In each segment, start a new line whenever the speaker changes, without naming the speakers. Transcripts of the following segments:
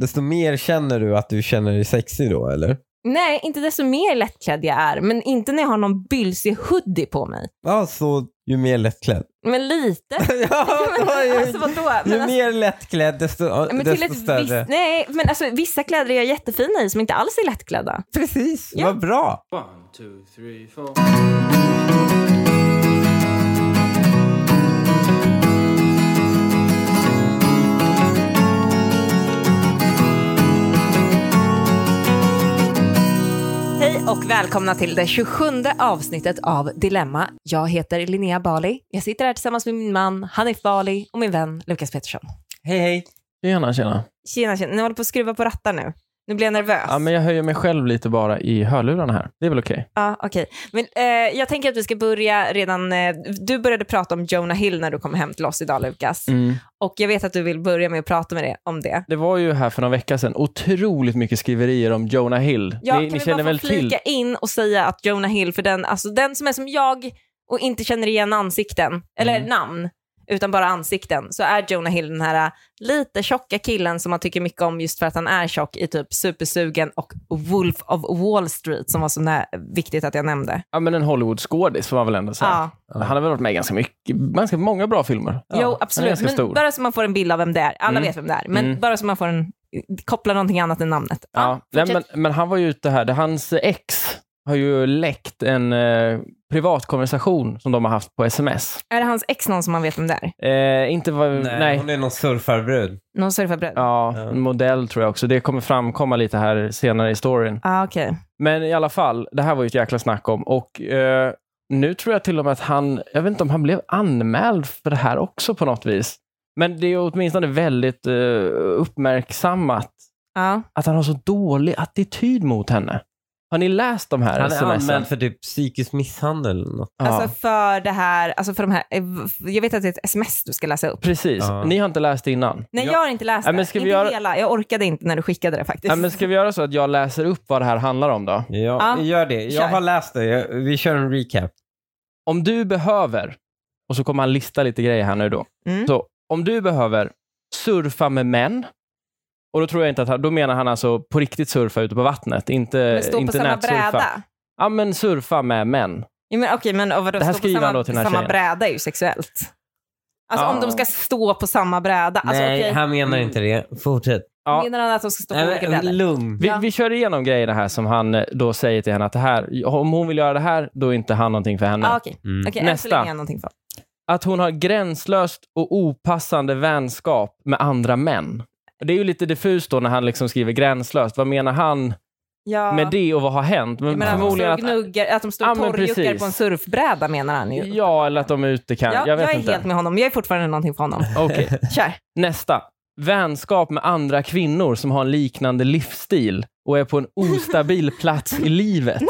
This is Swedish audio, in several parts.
desto mer känner du att du känner dig sexig då, eller?
Nej, inte desto mer lättklädd jag är, men inte när jag har någon bylsig hoodie på mig.
Ja, så ju mer lättklädd.
Men lite.
ja,
Men
ju,
alltså vadå? Men
ju
alltså,
mer lättklädd, desto, ja,
men till
desto
ett
större.
visst, nej, men alltså, vissa kläder är jag jättefina i som inte alls är lättklädda.
Precis,
Ja.
vad bra.
One, two, three, four.
Hej och välkomna till det 27 avsnittet av Dilemma. Jag heter Linnea Bali. Jag sitter här tillsammans med min man Hanif Bali och min vän Lukas Pettersson.
Hej, hej.
Tjena, tjena.
Tjena, tjena. Ni håller på att skruva på rattar nu. Nu blir jag nervös.
Ja, men jag höjer mig själv lite bara i hörlurarna här. Det är väl okej?
Ja, Ah, okej. Men eh, jag tänker att vi ska börja redan... Eh, du började prata om Jonah Hill när du kom hem till oss idag, Lukas.
Mm.
Och jag vet att du vill börja med att prata med det, om det.
Det var ju här för några veckor sedan otroligt mycket skriverier om Jonah Hill.
Ja,
ni
kan
ni
vi
känner
bara
väl
få
till?
flika in och säga att Jonah Hill, för den, alltså, den som är som jag och inte känner igen ansikten, eller
Mm.
namn, utan bara ansikten, så är Jonah Hill den här ä, lite tjocka killen som man tycker mycket om just för att han är tjock i typ Supersugen och Wolf of Wall Street som var så nä- viktigt att jag nämnde.
Ja, men en Hollywood-skådis får man väl ändå säga.
Ja,
Han har väl varit med i ganska, mycket, ganska många bra filmer.
jo,
Han är
absolut.
ganska
Men
stor.
bara så man får en bild av vem det är. Alla
Mm.
vet vem det är, men
Mm.
bara så man får en koppla någonting annat än namnet.
Ja, nej, men, men han var ju ute här, det- hans ex har ju läckt en eh, privat konversation som de har haft på sms.
Är det hans ex någon som man vet vem det är?
Eh, inte vad...
Nej,
Nej.
hon är någon surfarbrud.
Någon surfarbröd? Ja,
Ja,
Ja.
en modell tror jag också. Det kommer framkomma lite här senare i storyn.
ah, okej.
Men i alla fall, det här var ju ett jäkla snack om. Och eh, nu tror jag till och med att han, jag vet inte om han blev anmäld för det här också på något vis. Men det är ju åtminstone väldigt eh, uppmärksammat
Ja.
att han har så dålig attityd mot henne. Har ni läst de här
Han är
sms'en?
anmäld för typ psykisk misshandel eller något.
Ja,
Alltså för det här, alltså för de här, jag vet att det är ett sms du ska läsa upp.
precis.
Ja.
Ni har inte läst det innan.
Nej,
Ja.
jag har inte läst
Ja,
det.
men ska vi
inte
göra-
hela, jag orkade inte när du skickade det faktiskt.
Ja, men ska vi göra så att jag läser upp vad det här handlar om då?
Ja,
Ja,
gör det. Jag
kör.
har läst det. Jag, vi kör en recap.
Om du behöver, och så kommer han lista lite grejer här nu då.
Mm.
Så om du behöver surfa med män, och då tror jag inte att han, då menar han alltså på riktigt surfa ute på vattnet,
Men
inte,
stå på
inte
samma
nätsurfa.
bräda.
Ja, men surfa med män.
Ja, men, okej, men och vadå,
Det här
stå på
skriver
samma,
han då till den här
samma
tjejen.
bräda är ju sexuellt. Alltså
Ja.
om de ska stå på samma bräda. Alltså,
Nej,
okej,
han menar inte det. Fortsätt.
Ja.
Menar han att de ska stå på
Nej,
olika
men
brädor?
lugn.
Vi,
Ja.
vi kör igenom grejerna här som han eh, då säger till henne att det här, om hon vill göra det här, då är inte han någonting för henne.
Ah, okej,
Mm.
okej än så
Nästa.
länge är jag någonting för.
Att hon har gränslöst och opassande vänskap med andra män. Det är ju lite diffust då när han liksom skriver gränslöst. Vad menar han
Ja.
med det och vad har hänt? Men
Jag menar,
förmodligen
att,
att...
de står och gnuggar, att de står
Ja,
och
men
torrjuckar
precis.
på en surfbräda menar han ju.
Ja, eller att de är ute kanske.
Ja,
jag vet
är
inte.
helt med honom. Jag är fortfarande någonting för honom.
Okej.
Kör.
Nästa. Vänskap med andra kvinnor som har en liknande livsstil och är på en ostabil plats i livet.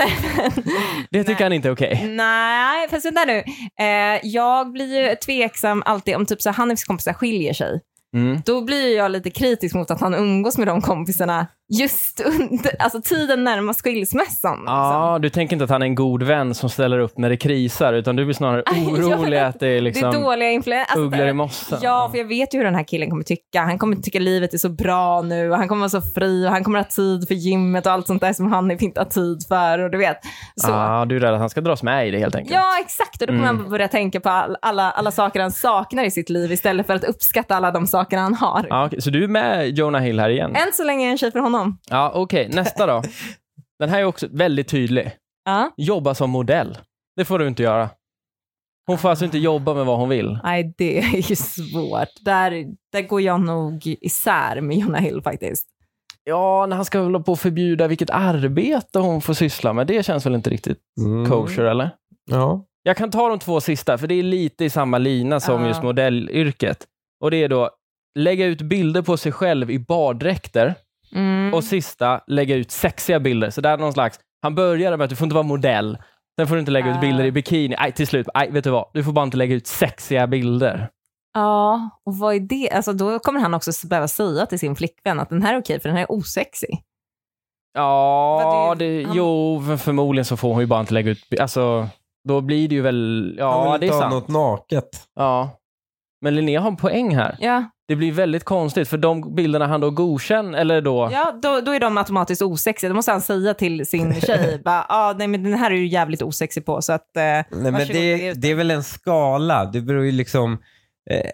Det tycker
Nej.
han inte är okej.
Nej, fast vänta nu. Eh, jag blir ju tveksam alltid om typ så här, Hanifs kompisar skiljer sig.
Mm.
Då blir jag lite kritisk mot att han umgås med de kompisarna just under, alltså tiden närmast skilsmässan.
Ja, du tänker inte att han är en god vän som ställer upp när det krisar, utan du blir snarare
Aj,
orolig
ja.
att det är
liksom. Det är
liksom
dåliga influenser.
ugglor i mossen.
Ja, för jag vet ju hur den här killen kommer tycka. Han kommer tycka livet är så bra nu och han kommer vara så fri och han kommer ha tid för gymmet och allt sånt där som han inte har tid för och du vet. Så.
Ah, du är rädd att han ska dras med i det helt enkelt.
Ja, exakt. Och då kommer
Mm.
han börja tänka på all, alla, alla saker han saknar i sitt liv istället för att uppskatta alla de saker han har.
Ah, okej. Så du är med Jonah Hill här igen?
Än så länge är jag en tjej för honom.
Ja, okej. Nästa då. Den här är också väldigt tydlig.
Ja.
Jobba som modell. Det får du inte göra. Hon får alltså inte jobba med vad hon vill.
Nej, det är ju svårt. Där, där går jag nog isär med Jonah Hill faktiskt.
Ja, när han ska hålla på och förbjuda vilket arbete hon får syssla med. Det känns väl inte riktigt
Mm.
kosher, eller?
Ja.
Jag kan ta de två sista, för det är lite i samma lina som
Ja.
just modellyrket. Och det är då lägga ut bilder på sig själv i baddräkter
Mm.
och sista lägga ut sexiga bilder. Så där är någon slags, han började med att du får inte vara modell. Sen får du inte lägga
Ah.
ut bilder i bikini. Nej, till slut, nej, vet du vad? Du får bara inte lägga ut sexiga bilder.
Ja, och vad är det? Alltså, då kommer han också behöva säga till sin flickvän att den här är okej för den här är osexig.
Ja,
Vad det-
det,
han-
jo, för- förmodligen så får hon ju bara inte lägga ut... bi- Alltså, då blir det ju väl...
Han
Ja,
vill
det är
inte ha något
sant.
naket.
Ja. Men Linnea har en poäng här.
Ja,
Det blir väldigt konstigt för de bilderna han då godkänner, eller då...
Ja, då, då är de automatiskt osexiga. Då måste han säga till sin tjej, bara, ah, nej men den här är du jävligt osexig på. Så att, eh,
Nej, men
varsågod, lägg
det,
ut
det är väl en skala. Det beror ju liksom... Eh,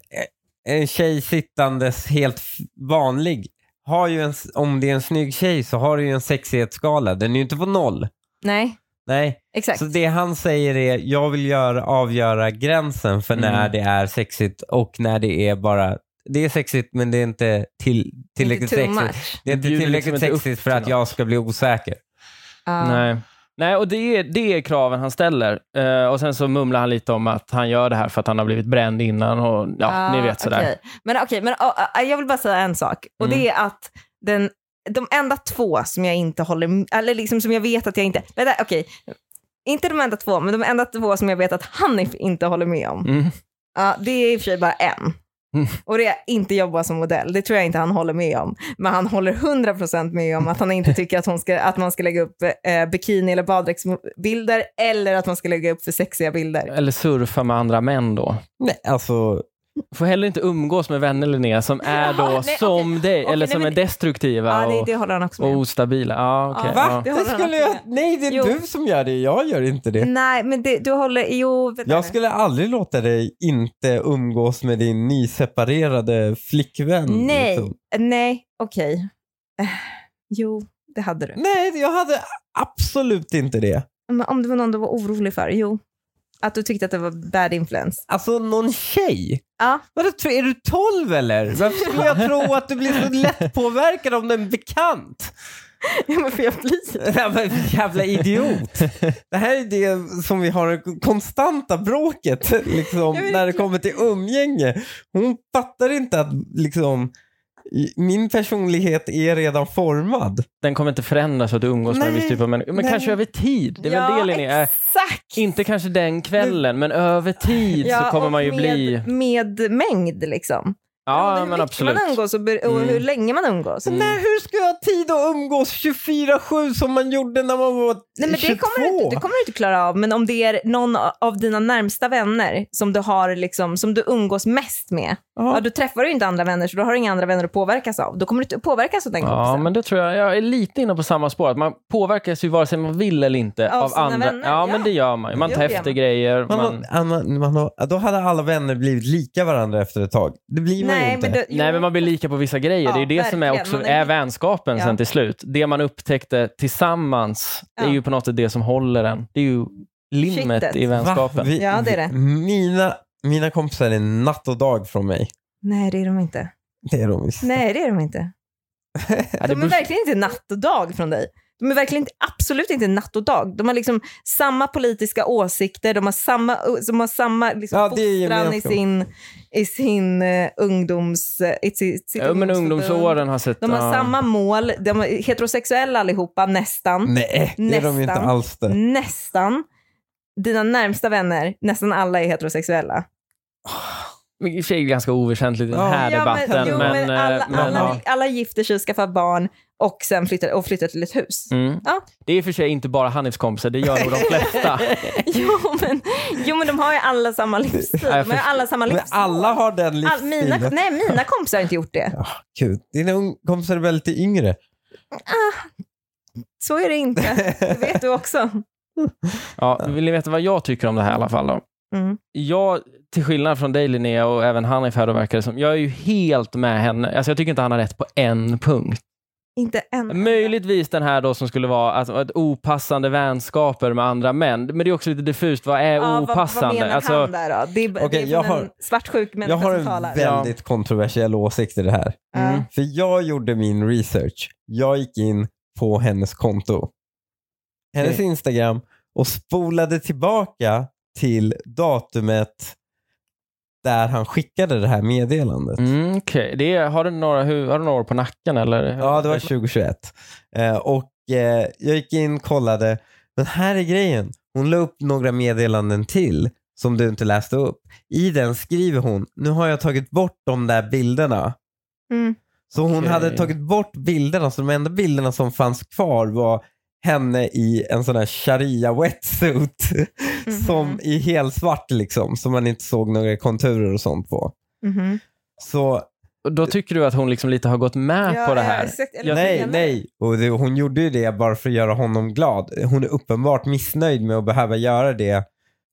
en tjej sittandes helt f- vanlig har ju en, s- om det är en snygg tjej så har du ju en sexighetsskala. Den är ju inte på noll.
Nej,
Nej,
exakt.
så det han säger är jag vill göra, avgöra gränsen för när
Mm.
det är sexigt och när det är bara det är sexigt men det är inte till, tillräckligt
Inte too
sexigt.
much.
Det är inte
Det bjuder
tillräckligt
liksom inte upp
sexigt för
till
att jag ska bli osäker.
Ja.
Nej. Nej, och det är, det är kraven han ställer. Eh, och sen så mumlar han lite om att han gör det här för att han har blivit bränd innan och ja,
Ah,
ni vet sådär. Mm.
okej. Men okej, men ah, ah, jag vill bara säga en sak. Och det är att den, de enda två som jag inte håller, eller liksom som jag vet att jag inte, vänta, okej. Inte de enda två, men de enda två som jag vet att Hanif inte håller med om.
Mm.
Ja, det är i och för sig bara en.
Mm.
Och det är inte jobba som modell. Det tror jag inte han håller med om. Men han håller 100% med om att han inte tycker att, hon ska, att man ska lägga upp eh, bikini eller baddräktsbilder eller att man ska lägga upp för sexiga bilder.
Eller surfa med andra män då.
Nej, alltså,
Får heller inte umgås med vänner Linnea som är då
Jaha, nej,
som dig,
Okej,
eller
nej,
som
men-
är destruktiva
Ja, det,
och,
det håller han också
och
med om.
ostabila. Ja, okej.
Va?
ja.
Det har han också med.
nej, det
Jo.
som gör det. Jag gör inte det.
Nej, men det, du håller... Jo, vänta nu.
Jag skulle aldrig låta dig inte umgås med din nyseparerade flickvän.
Nej,
Mm,
liksom.
nej, okej. Eh, Jo, det hade du.
Nej, jag hade absolut inte det.
Men om det var någon du var orolig för, jo. Att du tyckte att det var bad influence.
Alltså någon tjej.
Ja.
Vadå, tro- är du tolv eller? Varför skulle jag tro att du blir så lätt påverkad om en bekant?
Ja, men för jag blir...
Ja, men Jävla idiot. Det här är det som vi har det konstanta bråket liksom,
Ja, men
när det kommer till umgänge. Hon fattar inte att liksom, i- min personlighet är redan
Mm.
formad.
Den kommer inte förändras så att du umgås med en
Nej,
viss typ av människor. Men
nej.
kanske över tid. Det Äh. är
ja,
väl det Linnea?
exakt!
Inte kanske den kvällen, men över tid så kommer
och
man ju
med,
bli...
Med mängd liksom. Beroende
Ja,
hur
men
mycket
absolut.
man umgås och, ber- och hur
Mm.
länge man umgås.
Så när, hur ska jag ha tid att umgås 24-7 som man gjorde när man var
Nej, men
22?
det, kommer du inte, det kommer du inte klara av, men om det är någon av dina närmsta vänner som du, har liksom, som du umgås mest med,
Ja.
Ja, då träffar du inte andra vänner, så då har du inga andra vänner att påverkas av. Då kommer du inte påverkas av den
Ja,
kompisen.
men det tror jag. Jag är lite inne på samma spår. Att man påverkas ju vare sig man vill eller inte
Av
av,
sina
andra.
vänner,
Ja,
ja.
men det gör man ju. Man
Jo,
tar
det gör
efter
man.
grejer.
Man
Man...
har, man, man har, då hade alla vänner blivit lika varandra efter ett tag. Det blir man ju
Nej,
inte.
men, det, jo,
Nej, men man blir lika på vissa grejer.
Ja,
det är ju det som är
verkligen.
också
Man
är...
är-
vänskapen
Ja.
sen till slut. Det man upptäckte tillsammans
Ja.
är ju på något sätt det som håller en. Det är ju limmet
Kittet.
i
Va?
vänskapen.
Vi-
Ja, det är det.
vi- Mina, mina kompisar är natt och dag från mig.
Nej, det är de inte.
Det är de visst.
Nej, det är de inte.
Ja, det
Alltså, De är
beror-
verkligen inte natt och dag från dig. De är verkligen inte, absolut inte natt och dag. De har liksom samma politiska åsikter, de har samma, de har samma liksom
Ja, det är
fostran i
gemenskap.
sin, i sin eh, ungdoms... eh, I sitt, sitt
Ja, men
ungdomsförbund.
ungdomsåren har sett...
De har
ja.
samma mål, de är heterosexuella allihopa, nästan.
Nej, det är de ju inte
Nästan.
alls det.
Nästan. Dina närmsta vänner, nästan alla är heterosexuella.
I och för sig ganska oväsentligt i den
Ja.
här debatten.
jo,
men,
men alla,
eh, men,
alla,
ja.
alla gifter sig, skaffar barn och sen flyttar, och flyttar till ett hus.
Mm.
Ja.
Det är i och för sig inte bara Hanifs kompisar, det gör nog de flesta.
Jo, men, jo, men de har ju alla samma livsstil. De
Ja, jag
har ju alla samma
Men
livsstil.
alla har den
All, mina,
livsstilen.
nej, mina kompisar har inte gjort det.
Kul. Dina ung- kompisar är väl lite yngre?
Så är det inte. Det vet du också.
Ja, vill ni veta vad jag tycker om det här i alla fall? Då?
Mm.
Jag, till skillnad från dig Linnea och även Hanif här då verkar det som, jag är ju helt med henne. Alltså jag tycker inte han har rätt på en punkt.
Inte än.
Möjligtvis den här då som skulle vara alltså, ett opassande vänskaper med andra män. Men det är också lite diffust, vad är
Ja, vad,
opassande?
vad menar
alltså,
han där då? Det är, det
Okej,
är
jag
från
har-
en svartsjuk
Jag
människa
har
som
en
talar.
väldigt kontroversiell åsikt i det här.
Ja. Mm.
För jag gjorde min research. Jag gick in på hennes konto. Hennes
Okej.
Instagram och spolade tillbaka till datumet där han skickade det här meddelandet.
Mm, okej. det är, har, du några, hu- har du några år på nacken eller?
Ja, det var 2021. Eh, och eh, jag gick in, kollade. Men här är grejen. Hon la upp några meddelanden till som du inte läste upp. I den skriver hon, nu har jag tagit bort de där bilderna.
Mm.
Så hon
Okej.
hade tagit bort bilderna, så de enda bilderna som fanns kvar var henne i en sån här sharia wetsuit
Mm-hmm.
som i
Mm-hmm.
helsvart liksom, som man inte såg några konturer och sånt på.
Mhm.
Så
Då tycker du att hon liksom lite har gått med på det här.
exakt. Eller
Jag
vad
nej,
menar du?
nej. Och det, hon gjorde ju det bara för att göra honom glad. Hon är uppenbart missnöjd med att behöva göra det.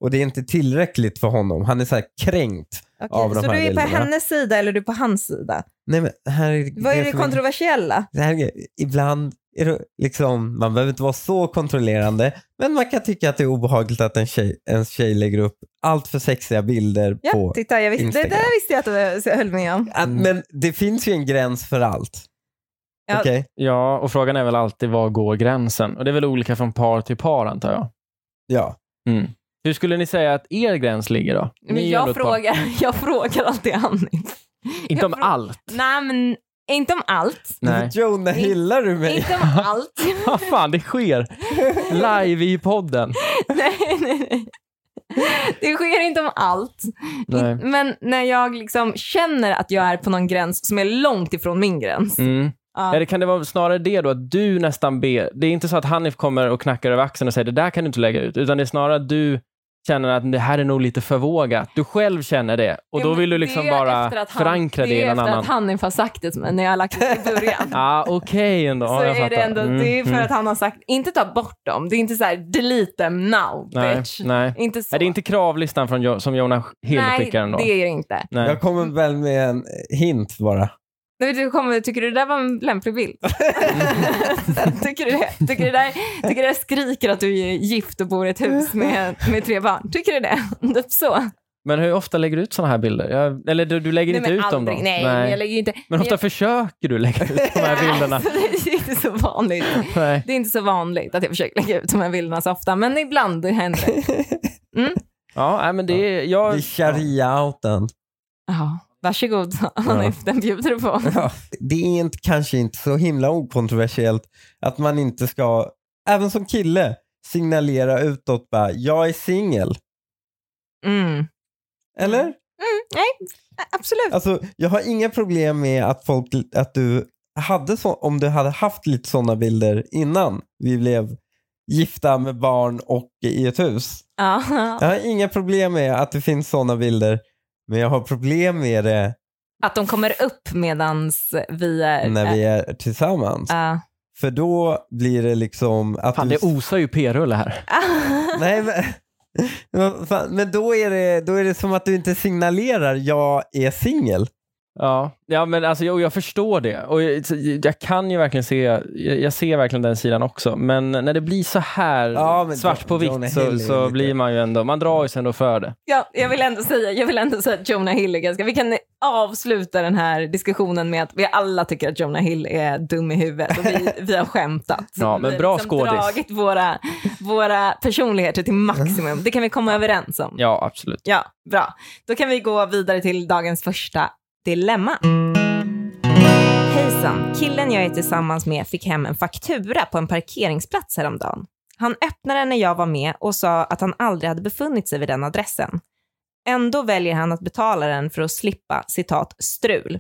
Och det är inte tillräckligt för honom. Han är så här kränkt.
Okej,
av de
så
här
du är på
bilderna.
hennes sida eller du är på hans sida?
Nej, men här är
Vad är det
som är-
kontroversiella?
det här, är- ibland är det liksom, man behöver inte vara så kontrollerande, men man kan tycka att det är obehagligt att en tjej, ens tjej lägger upp allt för sexiga bilder
Ja,
på.
titta, jag visste, det
Instagram.
där visste jag att du höll med om.
Att, men det finns ju en gräns för allt.
Ja.
Okej?
Ja, och frågan är väl alltid var går gränsen? Och det är väl olika från par till par antar jag.
Ja.
Mm. Hur skulle ni säga att er gräns ligger då? Ni är
Men
ju ändå
jag,
ett par.
frågar, jag frågar alltid Hanif.
Inte
jag
om
frå-
allt.
Nej, men inte om allt.
Nej.
Jonah, gillar du mig?
Inte om allt.
Vad fan, det sker. Live i podden.
nej, nej, nej. Det sker inte om allt.
Nej.
Men när jag liksom känner att jag är på någon gräns som är långt ifrån min gräns.
Mm.
Ja.
Eller kan det vara snarare det då, att du nästan ber... Det är inte så att Hanif kommer och knackar över axeln och säger det där kan du inte lägga ut, utan det är snarare att du känner att det här är nog lite för vågat. Du själv känner det och
Ja,
då
men
vill du
det
liksom
är
bara
efter att han-
förankra det i någon
Det är
annan.
efter att Hanif har sagt det till mig när jag har lagt det i början.
Ja, okej ändå.
så
Ja, jag
är det
fattar.
ändå,
Mm,
det är för
mm.
att han har sagt, inte ta bort dem, det är inte så här delete them now
Nej,
bitch.
nej.
Inte så.
Är det inte kravlistan från jo- som Jonas Hill
nej,
skickar ändå?
det är det inte.
Nej.
Jag kommer väl med en hint bara.
Nej, men du kommer, tycker du det där var en lämplig bild? tycker, du det? Tycker, du det där, tycker du det där skriker att du är gift och bor i ett hus med, med tre barn? Tycker du det? Typ så.
Men hur ofta lägger du ut sådana här bilder? Jag, eller du, du lägger
nej,
inte
men
ut dem då?
aldrig. Nej, jag lägger ju inte...
Men ofta
jag-
försöker du lägga ut de här bilderna?
Alltså, det är inte så vanligt.
Nej.
Det är inte så vanligt att jag försöker lägga ut de här bilderna så ofta, men ibland det händer det.
Ja, nej, men det är...
Det
Jag,
är sharia-outen.
Ja, varsågod Hanif, den bjuder du på.
Ja, det är inte, kanske inte så himla okontroversiellt att man inte ska, även som kille, signalera utåt bara jag är singel.
Mm.
Eller?
Absolut.
Alltså, jag har inga problem med att, folk, att du hade så, om du hade haft lite sådana bilder innan vi blev gifta med barn och i ett hus.
Ja.
Jag har inga problem med att det finns sådana bilder, men jag har problem med det
Att de kommer upp medans vi är...
när vi är tillsammans.
Ja.
För då blir det liksom att
fan,
du...
det osar ju p-rulle här.
Nej, men... Vad fan, Men då är, det, då är det som att du inte signalerar jag är singel.
Ja, ja men alltså, jag, jag förstår det. Och jag, jag kan ju verkligen se, jag, jag ser verkligen den sidan också. Men när det blir så här
Ja, men
svart på
John- Jonah
vitt
Hill är
så,
ju
så
lite-
blir man ju ändå, man drar ju sig ändå för det.
Ja, jag, vill ändå säga, jag vill ändå säga att Jonah Hill är ganska... Vi kan avsluta den här diskussionen med att vi alla tycker att Jonah Hill är dum i huvudet och vi, vi har skämtat.
Ja, men
vi
bra
har liksom
skådis.
dragit våra, våra personligheter till maximum. Det kan vi komma överens om.
Ja, absolut.
Ja, bra. Då kan vi gå vidare till dagens första dilemma. Hejsan! Killen jag är tillsammans med fick hem en faktura på en parkeringsplats häromdagen. Han öppnade den när jag var med och sa att han aldrig hade befunnit sig vid den adressen. Ändå väljer han att betala den för att slippa citat strul.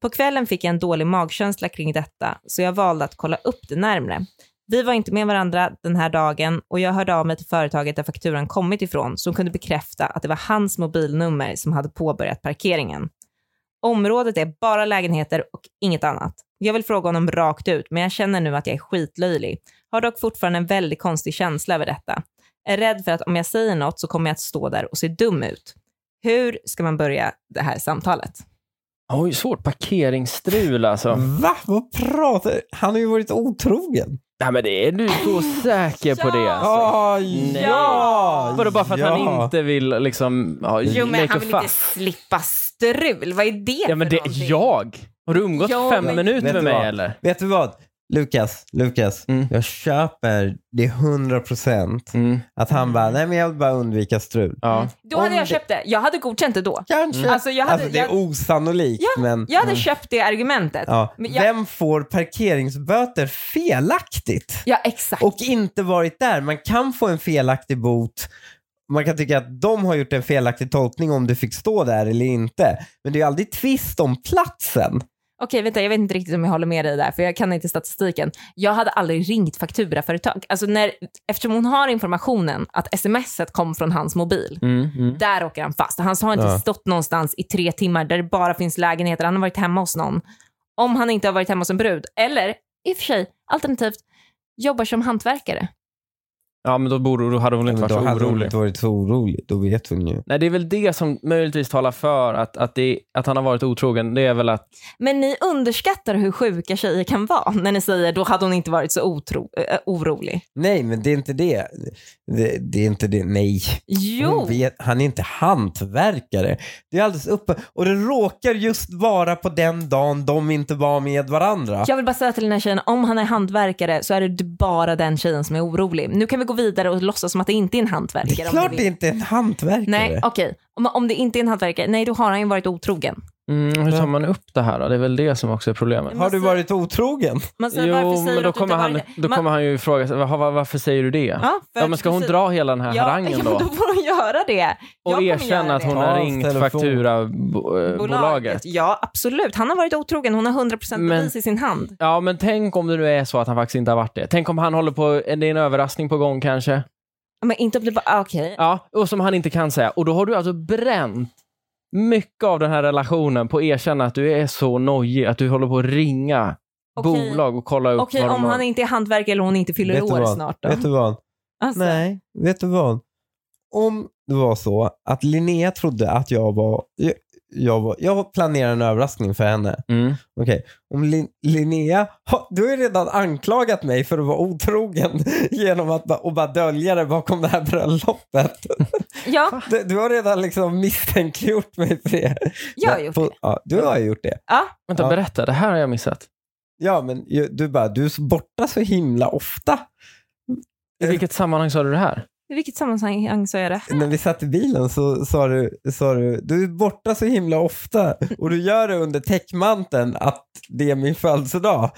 På kvällen fick jag en dålig magkänsla kring detta så jag valde att kolla upp det närmre. Vi var inte med varandra den här dagen och jag hörde av mig till företaget där fakturan kommit ifrån som kunde bekräfta att det var hans mobilnummer som hade påbörjat parkeringen. Området är bara lägenheter och inget annat. Jag vill fråga honom rakt ut, men jag känner nu att jag är skitlöjlig. Har dock fortfarande en väldigt konstig känsla över detta. Är rädd för att om jag säger något så kommer jag att stå där och se dum ut. Hur ska man börja det här samtalet?
Oj, svårt. Parkeringsstrul alltså.
Va? Vad pratar Han har ju varit otrogen.
Nej, men det är du så säker på det. Alltså.
Ah,
Nej.
ja!
Vadå, bara för att
ja.
han inte vill liksom, ja,
Jo, men
make a
han vill inte
fuss?
slippa strul. Vad är det
Ja, men
för
det
någonting?
är jag. Har du umgått
Ja,
fem
men-
minuter
Vet
med
du
mig
vad?
eller?
Vet du vad? Lukas, Lukas.
Mm.
Jag köper det 100 procent att han bara, nej men jag vill bara undvika strul.
Ja.
Då hade
Om
jag
det-
köpt det. Jag hade godkänt det då.
Kanske.
Mm.
Alltså, jag hade,
Alltså det är
jag,
osannolikt
Ja,
men.
jag hade köpt det argumentet. Ja,
Mm. Ja.
men jag-
Vem får parkeringsböter felaktigt?
exakt.
Och inte varit där. Man kan få en felaktig bot. Man kan tycka att de har gjort en felaktig tolkning om du fick stå där eller inte. Men det är ju aldrig tvist om platsen.
Okej, vänta, jag vet inte riktigt om jag håller med dig där, för jag kan inte statistiken. Jag hade aldrig ringt fakturaföretag. Alltså när, eftersom hon har informationen att smset kom från hans mobil,
Mm,
där åker han fast. Han har inte
Ja.
stått någonstans i tre timmar där det bara finns lägenheter. Han har varit hemma hos någon. Om han inte har varit hemma hos en brud. Eller, i och för sig, alternativt, jobbar som hantverkare.
Ja, men då, borde, då hade hon inte
Men
varit
då
så
hade hon
orolig.
inte varit så orolig. Då vet hon ju.
Nej, det är väl det som möjligtvis talar för att, att, det, att han har varit otrogen. Det är väl att
Men ni underskattar hur sjuka tjejer kan vara när ni säger då hade hon inte varit så otro, eh, orolig.
Nej, men det är inte det. Det, det är inte det. Nej.
Jo!
Hon vet, han är inte hantverkare. Det är alldeles uppe. Och det råkar just vara på den dagen de inte var med varandra.
Jag vill bara säga till den här tjejen, om han är hantverkare så är det bara den tjejen som är orolig. Nu kan vi gå vidare och låtsas som att det inte är en hantverkare.
det är
om ni
klart
vill.
det inte är en hantverkare.
Nej, okej. Om, om det inte är en hantverkare, nej då har han ju varit otrogen.
Mm, hur tar man upp det här då? Det är väl det som också är problemet.
alltså,
Har du varit otrogen?
Man säger, varför
Jo,
säger
men
du
då
att du inte
kommer,
har
han,
varit det?
då kommer han ju fråga sig, "Jaha, va- varför säger du det? Ja,
ja, för
men
att
ska hon
precis-
dra hela den här
ja,
harangen
ja,
då?
men då får hon göra det. Jag
och
kommer
erkänna
göra
att
det.
hon
Ta
har
hans
ringt eh,
telefon.
fakturabolaget.
Ja, absolut. Han har varit otrogen. Hon har 100% bevis
Men-
i sin hand.
Ja, men tänk om det nu är så att han faktiskt inte har varit det. Tänk om han håller på, det är en överraskning på gång kanske.
Men inte om det bara, ah, okej.
Ja, och som han inte kan säga. Och då har du alltså bränt mycket av den här relationen på att erkänna att du är så nojig att du håller på att ringa
Okej.
bolag och kolla upp
Okej,
vad de
om
har.
han inte är hantverkare eller hon inte fyller
Vet du
år
vad?
snart då.
Vet du vad?
Alltså,
Nej, vet du vad? Om det var så att Linnea trodde att jag var... Jag, jag, var, jag planerar en överraskning för henne.
Mm.
Okej, om Lin- Linnea... Ha, du har ju redan anklagat mig för att vara otrogen genom att ba- och bara dölja det bakom det här bröllopet.
Ja,
Du, du har redan liksom misstänkliggjort mig för det.
jag har gjort
På-
det.
Ja, du har gjort det.
Ja,
Vänta,
Ja.
berätta. Det här har jag missat.
Ja, men ju- du bara, du är så borta så himla ofta.
I vilket sammanhang sa du det här?
I vilket sammanhang så är det?
När vi satt i bilen så sa du, sa du, du är borta så himla ofta och du gör det under täckmanteln att det är min födelsedag.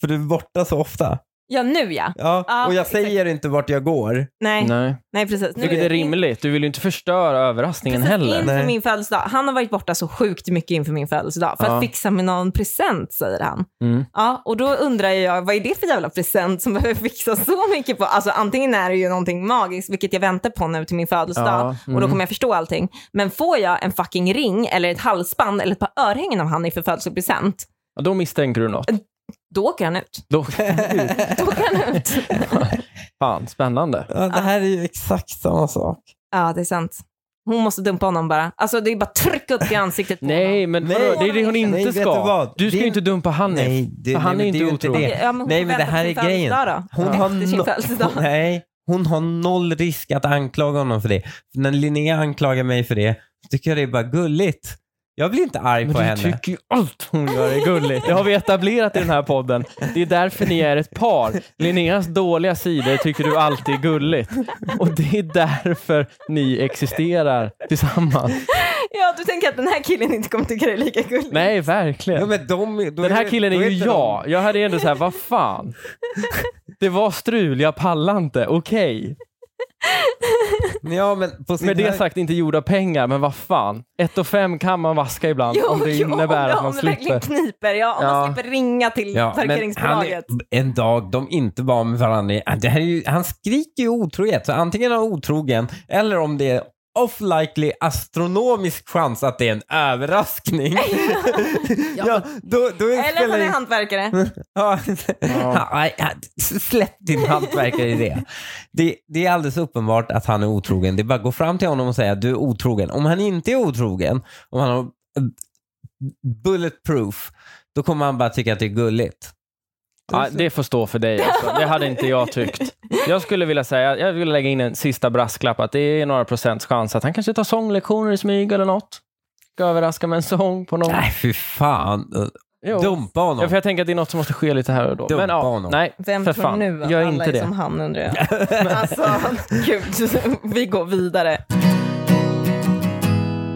För du är borta så ofta.
Ja, nu ja.
Ja,
Ja,
och jag
exakt.
säger inte vart jag går.
Nej, nej,
Nej.
precis. Nu
Vilket är rimligt. Du vill ju inte förstöra överraskningen
Precis,
heller.
inför
Nej.
min födelsedag. Han har varit borta så sjukt mycket inför min födelsedag för
Ja.
att fixa mig någon present, säger han.
Mm.
Ja, och då undrar jag, vad är det för jävla present som behöver fixas så mycket på? Alltså antingen är det ju någonting magiskt, vilket jag väntar på nu till min födelsedag
Ja,
och då
mm.
kommer jag förstå allting. Men får jag en fucking ring eller ett halsband eller ett par örhängen av Hanif för födelsedagspresent,
Ja, då misstänker du något.
då åker han ut.
Då...
Då åker han ut.
Fan, spännande.
Ja, det här är ju exakt samma sak.
Ja, det är sant. Hon måste dumpa honom bara. Alltså det är bara trycka upp det i ansiktet på honom.
Nej, men
Nej.
vadå? det är det hon inte
Nej, vet
ska.
du vad?
Du ska
Det-
ju inte dumpa Hanif.
det,
För han
men
är inte
ju
otrogen.
det.
Okej, ja, men hon
Nej,
får
men det
vänta
här
på
är
sin
grejen.
födelsedag då.
Hon har,
Efter sin
no-
födelsedag.
hon, nej, hon har noll risk att anklaga honom för det. För när Linnea anklagar mig för det så tycker jag det är bara gulligt. Jag blir inte arg
Men
på
du
henne.
tycker ju allt hon gör är gulligt. Det har vi etablerat i den här podden. Det är därför ni är ett par. Linneas dåliga sidor tycker du alltid är gulligt. Och det är därför ni existerar tillsammans.
Ja, du tänker att den här killen inte kommer tycka det är lika gulligt.
Nej,
Ja,
verkligen.
men de, då
Den här
det-
killen
då
är ju
inte
jag. Jag hade ju ändå så här, vad fan. Det var strul, jag pallar inte. Okej.
de- Ja, men på sin
Med det
höjd-
sagt, inte gjorda pengar, men vad fan. Ett och fem kan man vaska ibland om det innebär
om,
att man
Om det verkligen
slipper.
kniper, ja. Om
Ja.
man slipper ringa
Ja,
till
men han är,
parkeringsbolaget.
en dag de inte var med varandra, Ah, det här är ju, han skriker ju otrohet. Så antingen är han otrogen eller om det är off likely astronomisk chans att det är en överraskning. ja, då, då är
Eller han är hantverkare.
Ja. Nej, ja, Släpp din hantverkare i det. det. Det är alldeles uppenbart att han är otrogen. Det är bara att gå fram till honom och säga du är otrogen. Om han inte är otrogen, om han har eh, bulletproof, då kommer han bara tycka att det är gulligt.
Ja, det får stå för dig. Alltså. Det hade inte jag tyckt. Jag skulle vilja säga, jag vill lägga in en sista brasklapp att det är några procents chans att han kanske tar sånglektioner i smyg eller något. Ska överraska med en sång på någon.
Nej, fy fan.
Jo.
Dumpa honom.
Ja, för jag tänker att det är något som måste ske lite här och då.
Dumpa
Men, ja,
honom.
nej,
Vem
för
tror
fan.
nu att
Gör
alla
inte
är
det.
som han undrar jag. alltså, gud. Vi går vidare.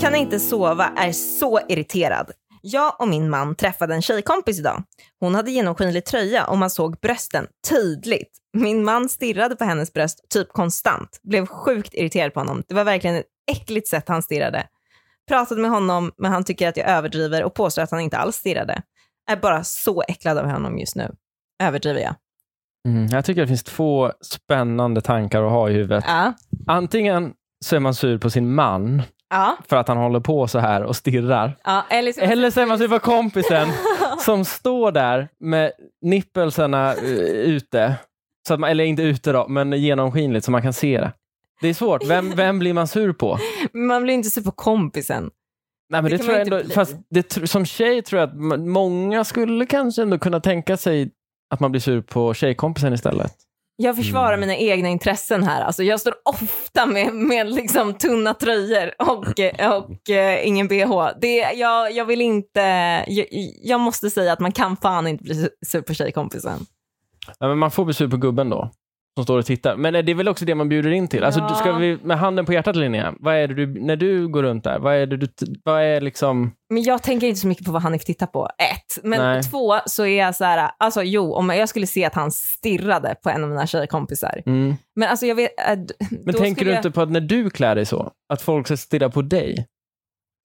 Kan inte sova, är så irriterad. Jag och min man träffade en tjejkompis idag. Hon hade genomskinlig tröja och man såg brösten tydligt. Min man stirrade på hennes bröst typ konstant. Blev sjukt irriterad på honom. Det var verkligen ett äckligt sätt han stirrade. Pratade med honom, men han tycker att jag överdriver och påstår att han inte alls stirrade. är bara så äcklad av honom just nu. Överdriver jag?
Mm. Jag tycker det finns två spännande tankar att ha i huvudet.
Ja.
Antingen så är man sur på sin man
Ja.
för att han håller på så här och stirrar.
ja. Eller, så-
Eller så är man sur på kompisen som står där med nippelserna eh, ute. Så att man, eller inte ute då, men genomskinligt så man kan se det. Det är svårt. Vem, vem blir man sur på?
man blir inte sur på kompisen.
Nej, men det
kan
tror
man
jag
inte
ändå,
bli.
fast det, tr- som tjej tror jag att m- många skulle kanske ändå kunna tänka sig att man blir sur på tjejkompisen istället.
Jag
Mm.
försvarar mina egna intressen här. Alltså, jag står ofta med, med liksom tunna tröjor och, och eh, ingen bh. Det, jag, jag vill inte... Jag, jag måste säga att man kan fan inte bli sur på tjejkompisen.
Ja, men man får bli sur på gubben då, som står och tittar. Men eh, det är väl också det man bjuder in till? Alltså,
Ja.
du- ska vi, med handen på hjärtat Linnea, vad är det du, när du går runt där, vad är det du, t- vad är liksom...
Men jag tänker inte så mycket på vad Hanif tittar på, ett. Men
Nej.
två så är jag så här, alltså jo, om jag skulle se att han stirrade på en av mina tjejkompisar.
Mm.
Men alltså jag vet... äh, d-
Men
då
tänker
skulle
du
jag-
inte på att när du klär dig så, att folk ska stirra på dig?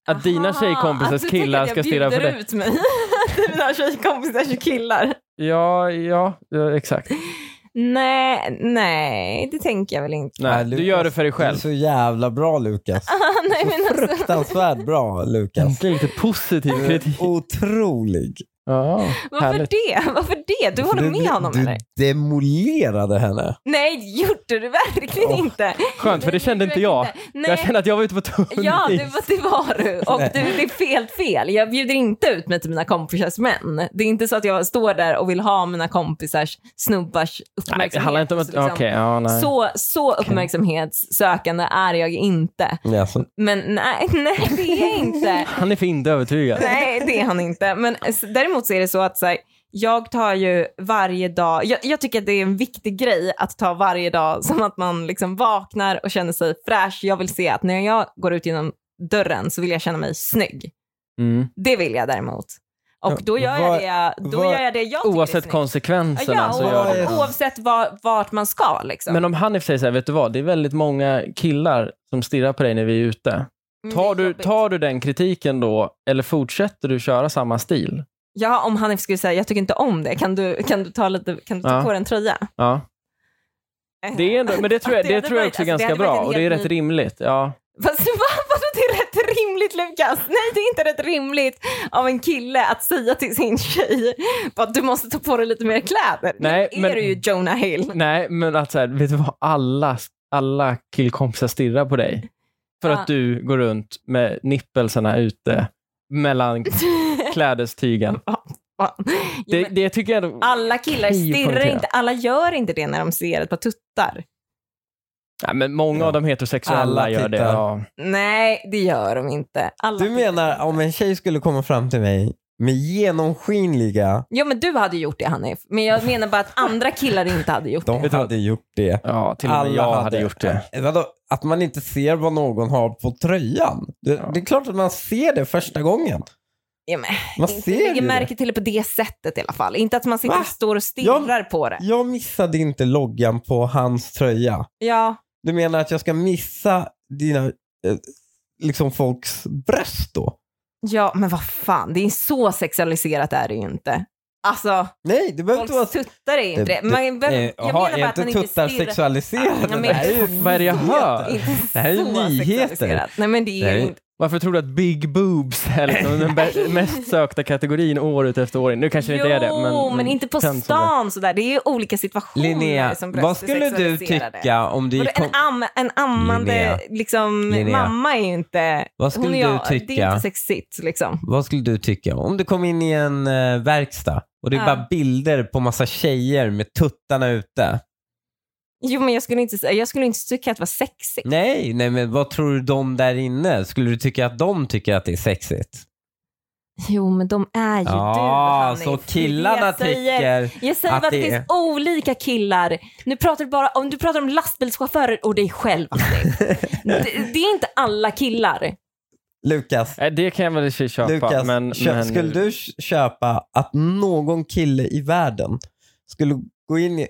Att dina
Aha,
tjejkompisars
att du tänker
killar
att
ska stirra på
Jag
dig?
bjuder ut mig till mina tjejkompisars killar.
Ja, ja, ja, exakt.
Nej, nej, det tänker jag väl inte.
Nej,
Lukas,
du gör det för dig själv.
Du är så jävla bra Lukas.
nej, men alltså,
Fruktansvärt bra Lukas.
Äntligen lite positiv
Du
kritik.
är otrolig.
Ja,
varför
härligt.
det? Varför det? Du håller
Du-
med honom
Du
eller?
demolerade henne.
Nej, det gjorde du verkligen
Åh,
inte.
Skönt, för det kände
gjorde
inte jag.
verkligen inte.
Jag
Nej.
kände att jag var ute på tunn
Ja, det
is.
var, liksom det var du. Och
Nej.
du, det är fel fel. Jag bjuder inte ut mig till mina kompisars män. Det är inte så att jag står där och vill ha mina kompisars snubbars
Nej,
uppmärksamhet.
det handlar inte om att...
Liksom,
Okej, ja, nej.
så, så uppmärksamhetssökande är jag inte.
Alltså,
Men nej, nej det är jag inte.
Han är för inte övertygad.
Nej, det är han inte. Men s- däremot så är det så att så här, jag tar ju varje dag, jag, jag tycker att det är en viktig grej att ta varje dag som att man liksom vaknar och känner sig fräsch. Jag vill se att när jag går ut genom dörren så vill jag känna mig snygg.
Mm.
Det vill jag däremot. Och då gör
Vad-
jag det, då
vad-
gör jag, det jag tycker är
Oavsett
snyggt.
konsekvenserna
Ja,
så
och,
gör du det.
det.
Oavsett var, vart man ska liksom.
Men om Hanif säger så här, vet du vad, det är väldigt många killar som stirrar på dig när vi är ute.
Mm, det är
Tar du,
jobbigt.
tar du den kritiken då, eller fortsätter du köra samma stil?
Ja, om Hanif skulle säga jag tycker inte om det, kan du, kan du ta, lite, kan du ta
Ja.
på dig en tröja?
Ja. Det är ändå, men det tror jag,
Det hade
det tror jag
varit- alltså,
också är
det
ganska
hade varit
bra
en
och det är
helt
rätt
ny-
rimligt. Ja.
Fast va? vadå det är rätt rimligt Lukas? Nej det är inte rätt rimligt av en kille att säga till sin tjej att du måste ta på dig lite mer kläder.
Nej,
Nu är
men-
du ju Jonah Hill.
Nej, men att så här, vet du vad, alla, alla killkompisar stirrar på dig för
Ja.
att du går runt med nippelserna ute mellan klädestygen.
Fan.
Det,
Jo, men
det tycker jag ändå-
alla killar
kan ju
stirrar
poängtera.
inte, alla gör inte det när de ser ett par tuttar.
Nej, men många av de heterosexuella
Alla
gör det.
tittar.
Ja.
Nej, det gör de inte. Alla
Du
tittar
menar
inte.
om en tjej skulle komma fram till mig med genomskinliga,
Ja men du hade gjort det Hanif. Men jag menar bara att andra killar inte hade gjort det.
de hade gjort det.
ja, till och med
Alla
jag hade,
hade.
gjort det.
Eh, Vadå? Att man inte ser vad någon har på tröjan. Det,
Ja.
det är klart att man ser det första gången.
Ja, men,
Man
inte
ser
lägger
ju det.
märke till det på det sättet i alla fall. Inte att man sitter
Va?
och står och stirrar på det.
Jag missade inte loggan på hans tröja.
Ja.
Du menar att jag ska missa dina, eh, liksom folks bröst då?
Ja, men vad fan, det är så sexualiserat är det ju inte. Alltså,
Nej, det behöver inte vara
folks tuttar är inte det.
Det-
Man, jag
Eh, jaha,
menar bara
är
att man
inte
inte
tuttar
stirrar...
sexualiserade?
Ja, men-
Det här är ju-
Vad är det jag hör?
Inte
Det här är ju
så
nyheter.
sexualiserat. Nej, men det är
Nej.
inte...
Varför tror du att big boobs är liksom den bä- mest sökta kategorin år ut efter år? in? Nu kanske det inte är det. Men,
Jo, men inte på
känns som
stan sådär. Det är ju olika situationer
Linnea,
som bröst är
vad skulle du
sexualiserade.
tycka om du
Vadå,
gick
En, am, en ammande
Linnea.
liksom,
Linnea.
mamma är ju inte...
Vad skulle
hon och
du
jag, Det är
tycka?
inte sexigt liksom.
Vad skulle du tycka om du kom in i en eh, verkstad och det är
Ja.
bara bilder på massa tjejer med tuttarna ute?
Jo, men jag skulle inte, säga- jag skulle inte tycka att det var sexigt.
Nej, nej men vad tror du de där inne? Skulle du tycka att de tycker att det är sexigt?
Jo, men de är ju du,
Ja,
Hanif. Det är
så
det
killarna
jag säger.
tycker...
Jag säger
att
bara att
det
det finns olika killar. Nu pratar du bara om, du pratar om lastbilschaufförer och dig själv. Astrid. det, det är inte alla killar.
Lukas,
Det. Nej, det kan jag väl i och för sig köpa.
Lukas,
men,
kö-
men,
skulle du k- köpa att någon kille i världen skulle gå in i,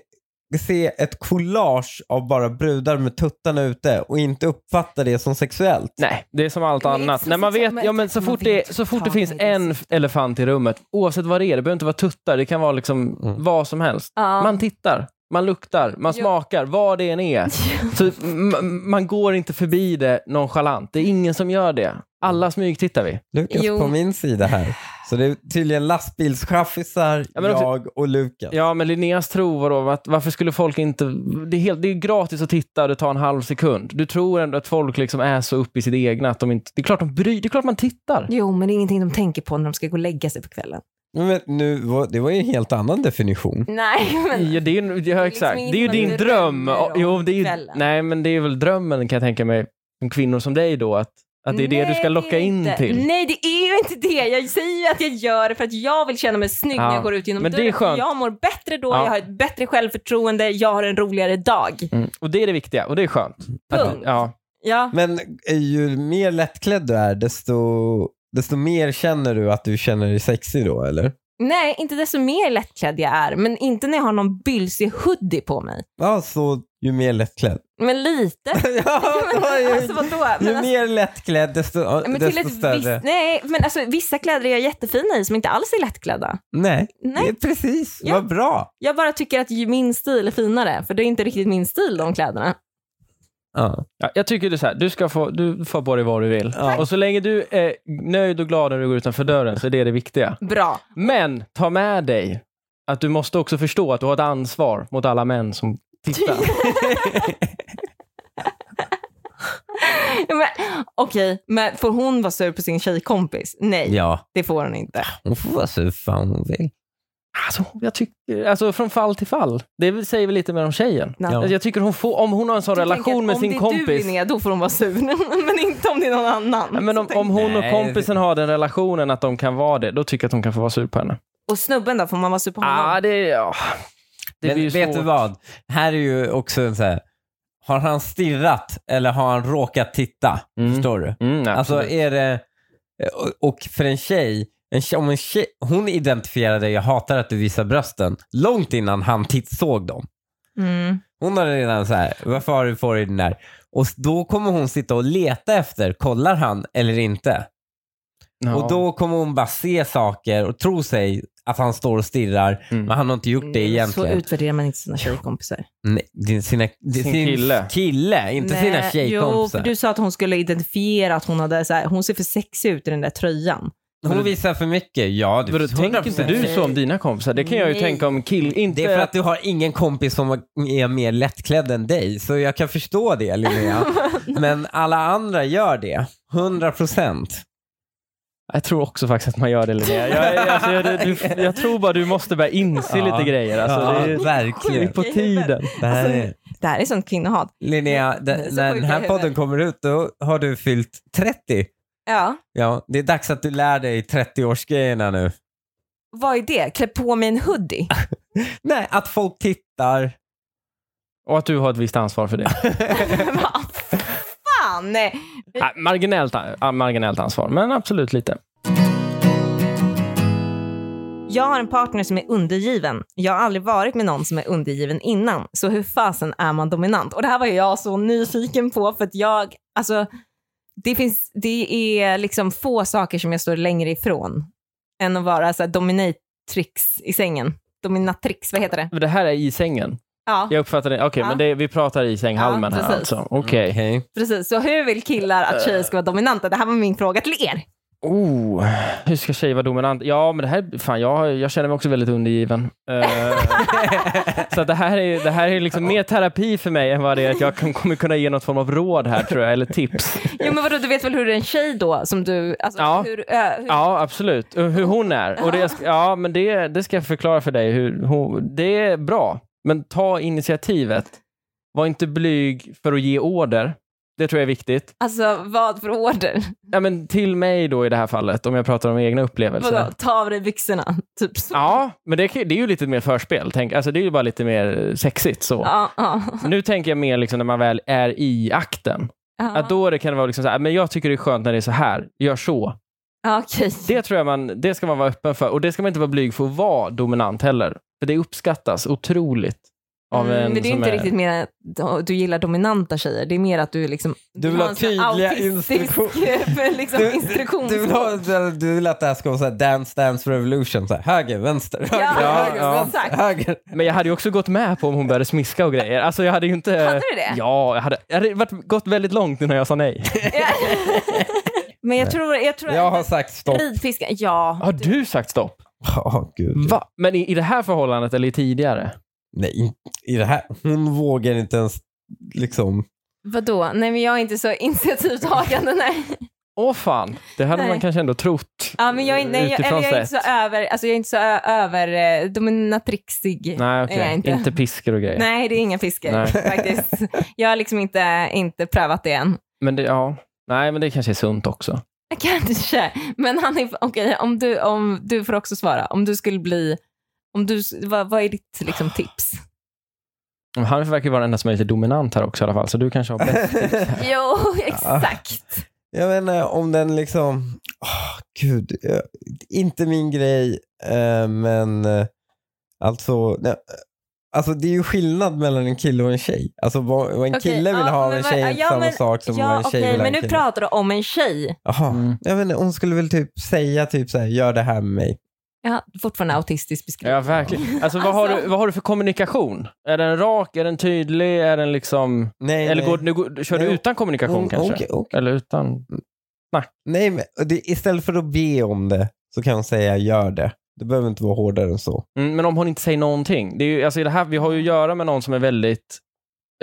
se ett collage av bara brudar med tuttarna ute och inte uppfatta det som sexuellt.
Nej, det är som allt
Men
annat.
så-
När man
så-
vet,
men-
ja, men så
man
fort,
vet
det, så fort det
fan
finns
vad det är.
en f- elefant i rummet, oavsett vad det är, det behöver inte vara tuttar, det kan vara liksom
Mm.
vad som helst.
Ja.
Man tittar, man luktar, man
Ja.
smakar, vad det än är. Så m- man går inte förbi det nonchalant. Det är ingen som gör det. Alla smygtittar vi.
Lukas
Jo.
på min sida här. Så det är tydligen lastbilschaffisar,
Ja, men också-
jag och Lukas.
Ja, men Linneas tro var då att varför skulle folk inte... Det är, helt, det är gratis att titta och det tar en halv sekund. Du tror ändå att folk liksom är så uppe i sitt egna att de inte... Det är klart de bryr, det är klart man tittar.
Jo, men det är ingenting de tänker på när de ska gå och lägga sig på kvällen.
Men nu, var- det var ju en helt annan definition.
Nej, men
Ja, det är, ju- ja,
är
exakt.
liksom
Det är ju
inte
din
vad du
dröm.
drömmer om
Jo, det är ju,
kvällen.
nej, men det är väl drömmen kan jag tänka mig, om kvinnor som dig då, att, att det är det du
Nej,
ska locka
är
in
inte.
till.
Nej, det är ju inte det. Jag säger ju att jag gör det för att jag vill känna mig snygg
Ja,
när jag går ut genom
men det är
dörren.
skönt.
Jag mår bättre då,
Ja.
jag har ett bättre självförtroende, jag har en roligare dag.
Mm. Och det är det viktiga och det är skönt. Att,
Punkt.
ja.
Ja.
Men eh, ju mer lättklädd du är, desto, desto mer känner du att du känner dig sexig då, eller?
Nej, inte desto mer lättklädd jag är, men inte när jag har någon bylsig hoodie på mig.
Ja, så ju mer lättklädd.
Men lite.
ja,
Men
ju,
alltså vadå? Men
ju
alltså,
mer lättklädd, desto, ja,
men till
desto
ett
större.
visst, nej, men alltså, vissa kläder är jag jättefina i som inte alls är lättklädda.
Nej, det
Nej,
är precis.
Ja.
Vad bra.
jag bara tycker att ju min stil är finare, för det är inte riktigt min stil de kläderna.
Ja.
Ja, jag tycker det är så här, du, ska få, du får på dig vad du vill.
Ja.
Och så länge du är nöjd och glad när du går utanför dörren så är det det viktiga.
Bra.
Men ta med dig att du måste också förstå att du har ett ansvar mot alla män som tittar.
Men, Okej, men får hon vara sur på sin tjejkompis? Nej,
ja,
det får hon inte.
hon får vara så fan hon vill.
Alltså, jag tycker, alltså från fall till fall. Det vill- säger väl lite mer om tjejen.
Nej.
Ja.
Alltså, jag tycker hon får, om hon har en sån
Jag tänker
relation
att
med
om
sin
det Om det är du
kompis.
Linnea, då får hon vara sur. men inte om det är någon annan.
Nej, men om, om hon och
Nej.
kompisen har den relationen att de kan vara det, då tycker jag att hon kan få vara sur på henne.
Och snubben då, får man vara sur på honom?
Ah, det, ja. det
Men
blir ju
vet
svårt.
du vad? Här är ju också en så här, har han stirrat eller har han råkat titta?
Mm.
Förstår du?
Mm, nej,
Alltså
absolut.
är det, eh, och och för en tjej, en tjej, om en tjej hon identifierade jag hatar att du visar brösten långt innan han titt såg dem.
Mm.
Hon har redan så här, varför har du på dig den där? Och s- då kommer hon sitta och leta efter, kollar han eller inte?
Ja.
Och då kommer hon bara se saker och tro sig att han står och stirrar,
Mm.
men han har inte gjort det
Så
egentligen.
utvärderar man inte sina tjejkompisar.
Nej, det är sina, det är
Sin
sin
kille.
kille. inte sina
Jo,
tjejkompisar.
för du sa att hon skulle identifiera att hon hade så här, hon ser för sexig ut i den där tröjan.
Hon visar för mycket. Ja, det
Vadå, tänker inte
100%.
du så om dina kompisar? Det kan jag ju
Nej.
tänka om kill... Inte...
Det är för att du har ingen kompis som är mer lättklädd än dig, så jag kan förstå det Linnea. Men alla andra gör det. 100 procent.
Jag tror också faktiskt att man gör det Linnea. Jag, jag, alltså, jag, du, jag tror bara du måste börja inse
Ja.
lite grejer. Alltså,
ja,
det, är, det Alltså, är
verkligen.
på tiden.
Det här är...
Det här är sånt kvinnohat.
Linnea, d-
så
när
sjuka
den här
huvud.
podden kommer ut då har du fyllt 30.
Ja.
Ja, det är dags att du lär dig 30-årsgrejerna nu.
Vad är det? Klä på mig en hoodie?
Nej, att folk tittar.
Och att du har ett visst ansvar för det.
Vad fan!
Ah, marginellt, ah, marginellt ansvar, men absolut lite.
Jag har en partner som är undergiven. Jag har aldrig varit med någon som är undergiven innan. Så hur fasen är man dominant? Och det här var jag så nyfiken på för att jag, alltså, det, finns, det är liksom få saker som jag står längre ifrån än att vara så här, dominatrix i sängen. Dominatrix, vad heter det?
Men Det här är i sängen.
Ja,
Jag uppfattar det. Okej,
Ja.
men det, vi pratar i sänghalmen
Ja,
här
precis.
alltså. Okej.
Okej.
precis. Så hur vill killar att tjejer ska vara dominanta? Det här var min fråga till er.
Oh, hur ska tjejer vara dominant? Ja, men det här, fan, jag, jag känner mig också väldigt undergiven. Eh, så att det här är, det här är liksom mer terapi för mig än vad det är att jag kan, kommer kunna ge något form av råd här tror jag, eller tips.
Jo men vadå, du vet väl hur en tjej då, som du, alltså
Ja.
hur, ö, hur
Ja, absolut. Och Hur hon är. Och det, ska- ja, men det, det ska jag förklara för dig. Hur hon, det är bra, men ta initiativet. Var inte blyg för att ge order. Det tror jag är viktigt.
alltså vad för order?
Ja, men till mig då i det här fallet, om jag pratar om egna upplevelser.
Vadå, ta av dig byxorna, typ så.
Ja, men det, kan- det är ju lite mer förspel. Tänk, alltså det är ju bara lite mer sexigt så.
Ja, ja.
Nu tänker jag mer liksom när man väl är i akten.
ja.
Att då det kan vara liksom så här, men jag tycker det är skönt när det är så här, gör så.
Ja, Okej.
Det tror jag man, det ska man vara öppen för. Och det ska man inte vara blyg för att vara dominant heller. För det uppskattas otroligt. Av en
Mm, men det är
som
inte
är...
riktigt mer att du gillar dominanta tjejer. Det är mer att du liksom...
Du vill ha
en sån
tydliga
autistisk,
instruktioner.
liksom,
Mm.
instruktions...
Du vill, ha, du- du vill att det här ska vara så här dance, dance revolution. Så här, höger, vänster, höger,
Ja,
höger,
ja.
vänster,
exakt.
höger.
Men jag hade ju också gått med på om hon började smiska och grejer. Alltså jag hade ju inte...
Hade du det?
Ja, jag hade, jag hade varit, gått väldigt långt innan jag sa nej.
men jag tror, jag tror
Jag har
att
sagt stopp.
ridfiskar... Ja.
Har du sagt stopp?
Ja, gud.
Va? Men i, i det här förhållandet eller i tidigare?
Nej, in- i det här. Hon vågar inte ens liksom.
Vadå? Nej, men jag är inte så initiativtagande. Nej.
Åh fan, det hade
Nej.
man kanske ändå trott.
Ja, men jag, är- nej, jag, eller
Utifrån
jag är inte så
sett.
över... Alltså, jag är inte så ö- över... eh, Dominatrixig.
Nej, okej.
Är jag
Inte.
inte.
piskor och grejer.
Nej, det är inga fiskar
Nej.
faktiskt. Jag har liksom inte, inte prövat det än.
Men det, ja. Nej, men det kanske är sunt också.
Kanske, men han är, okej, om du, om, du får också svara. Om du skulle bli, om du, vad, vad är ditt liksom, tips?
Men Han verkar vara den enda som är lite dominant här också i alla fall, så du kanske har bäst.
Jo, exakt.
Jag vet inte om den liksom, Åh, gud, jag- inte min grej, eh, men eh, alltså, nej, alltså det är ju skillnad mellan en kille och en tjej. Alltså vad vad en
Okej,
kille vill
ja,
ha av
men
en
vad-
tjej är inte
ja,
samma
men-
sak som vad
Ja,
en tjej
okej,
vill ha
men
en
nu
kille.
pratar du om en tjej.
Jaha.
Mm.
Jag vet inte, hon skulle väl typ säga typ så här, gör det här med mig.
Ja, fortfarande autistisk beskrivning.
Ja, verkligen. Alltså, vad, har
Alltså.
du, vad har du för kommunikation? Är den rak? Är den tydlig? Är den liksom...
Nej,
Eh,
Eller
nej.
går, nu, går- kör
Nej,
du utan kommunikation
Hon-
kanske?
okej, okej.
Eller utan...
Mm.
Nej, men och det, istället för att be om det så kan hon säga gör det. Det behöver inte vara hårdare än så.
Mm, men om hon inte säger någonting. Det är ju, alltså i det här, vi har ju att göra med någon som är väldigt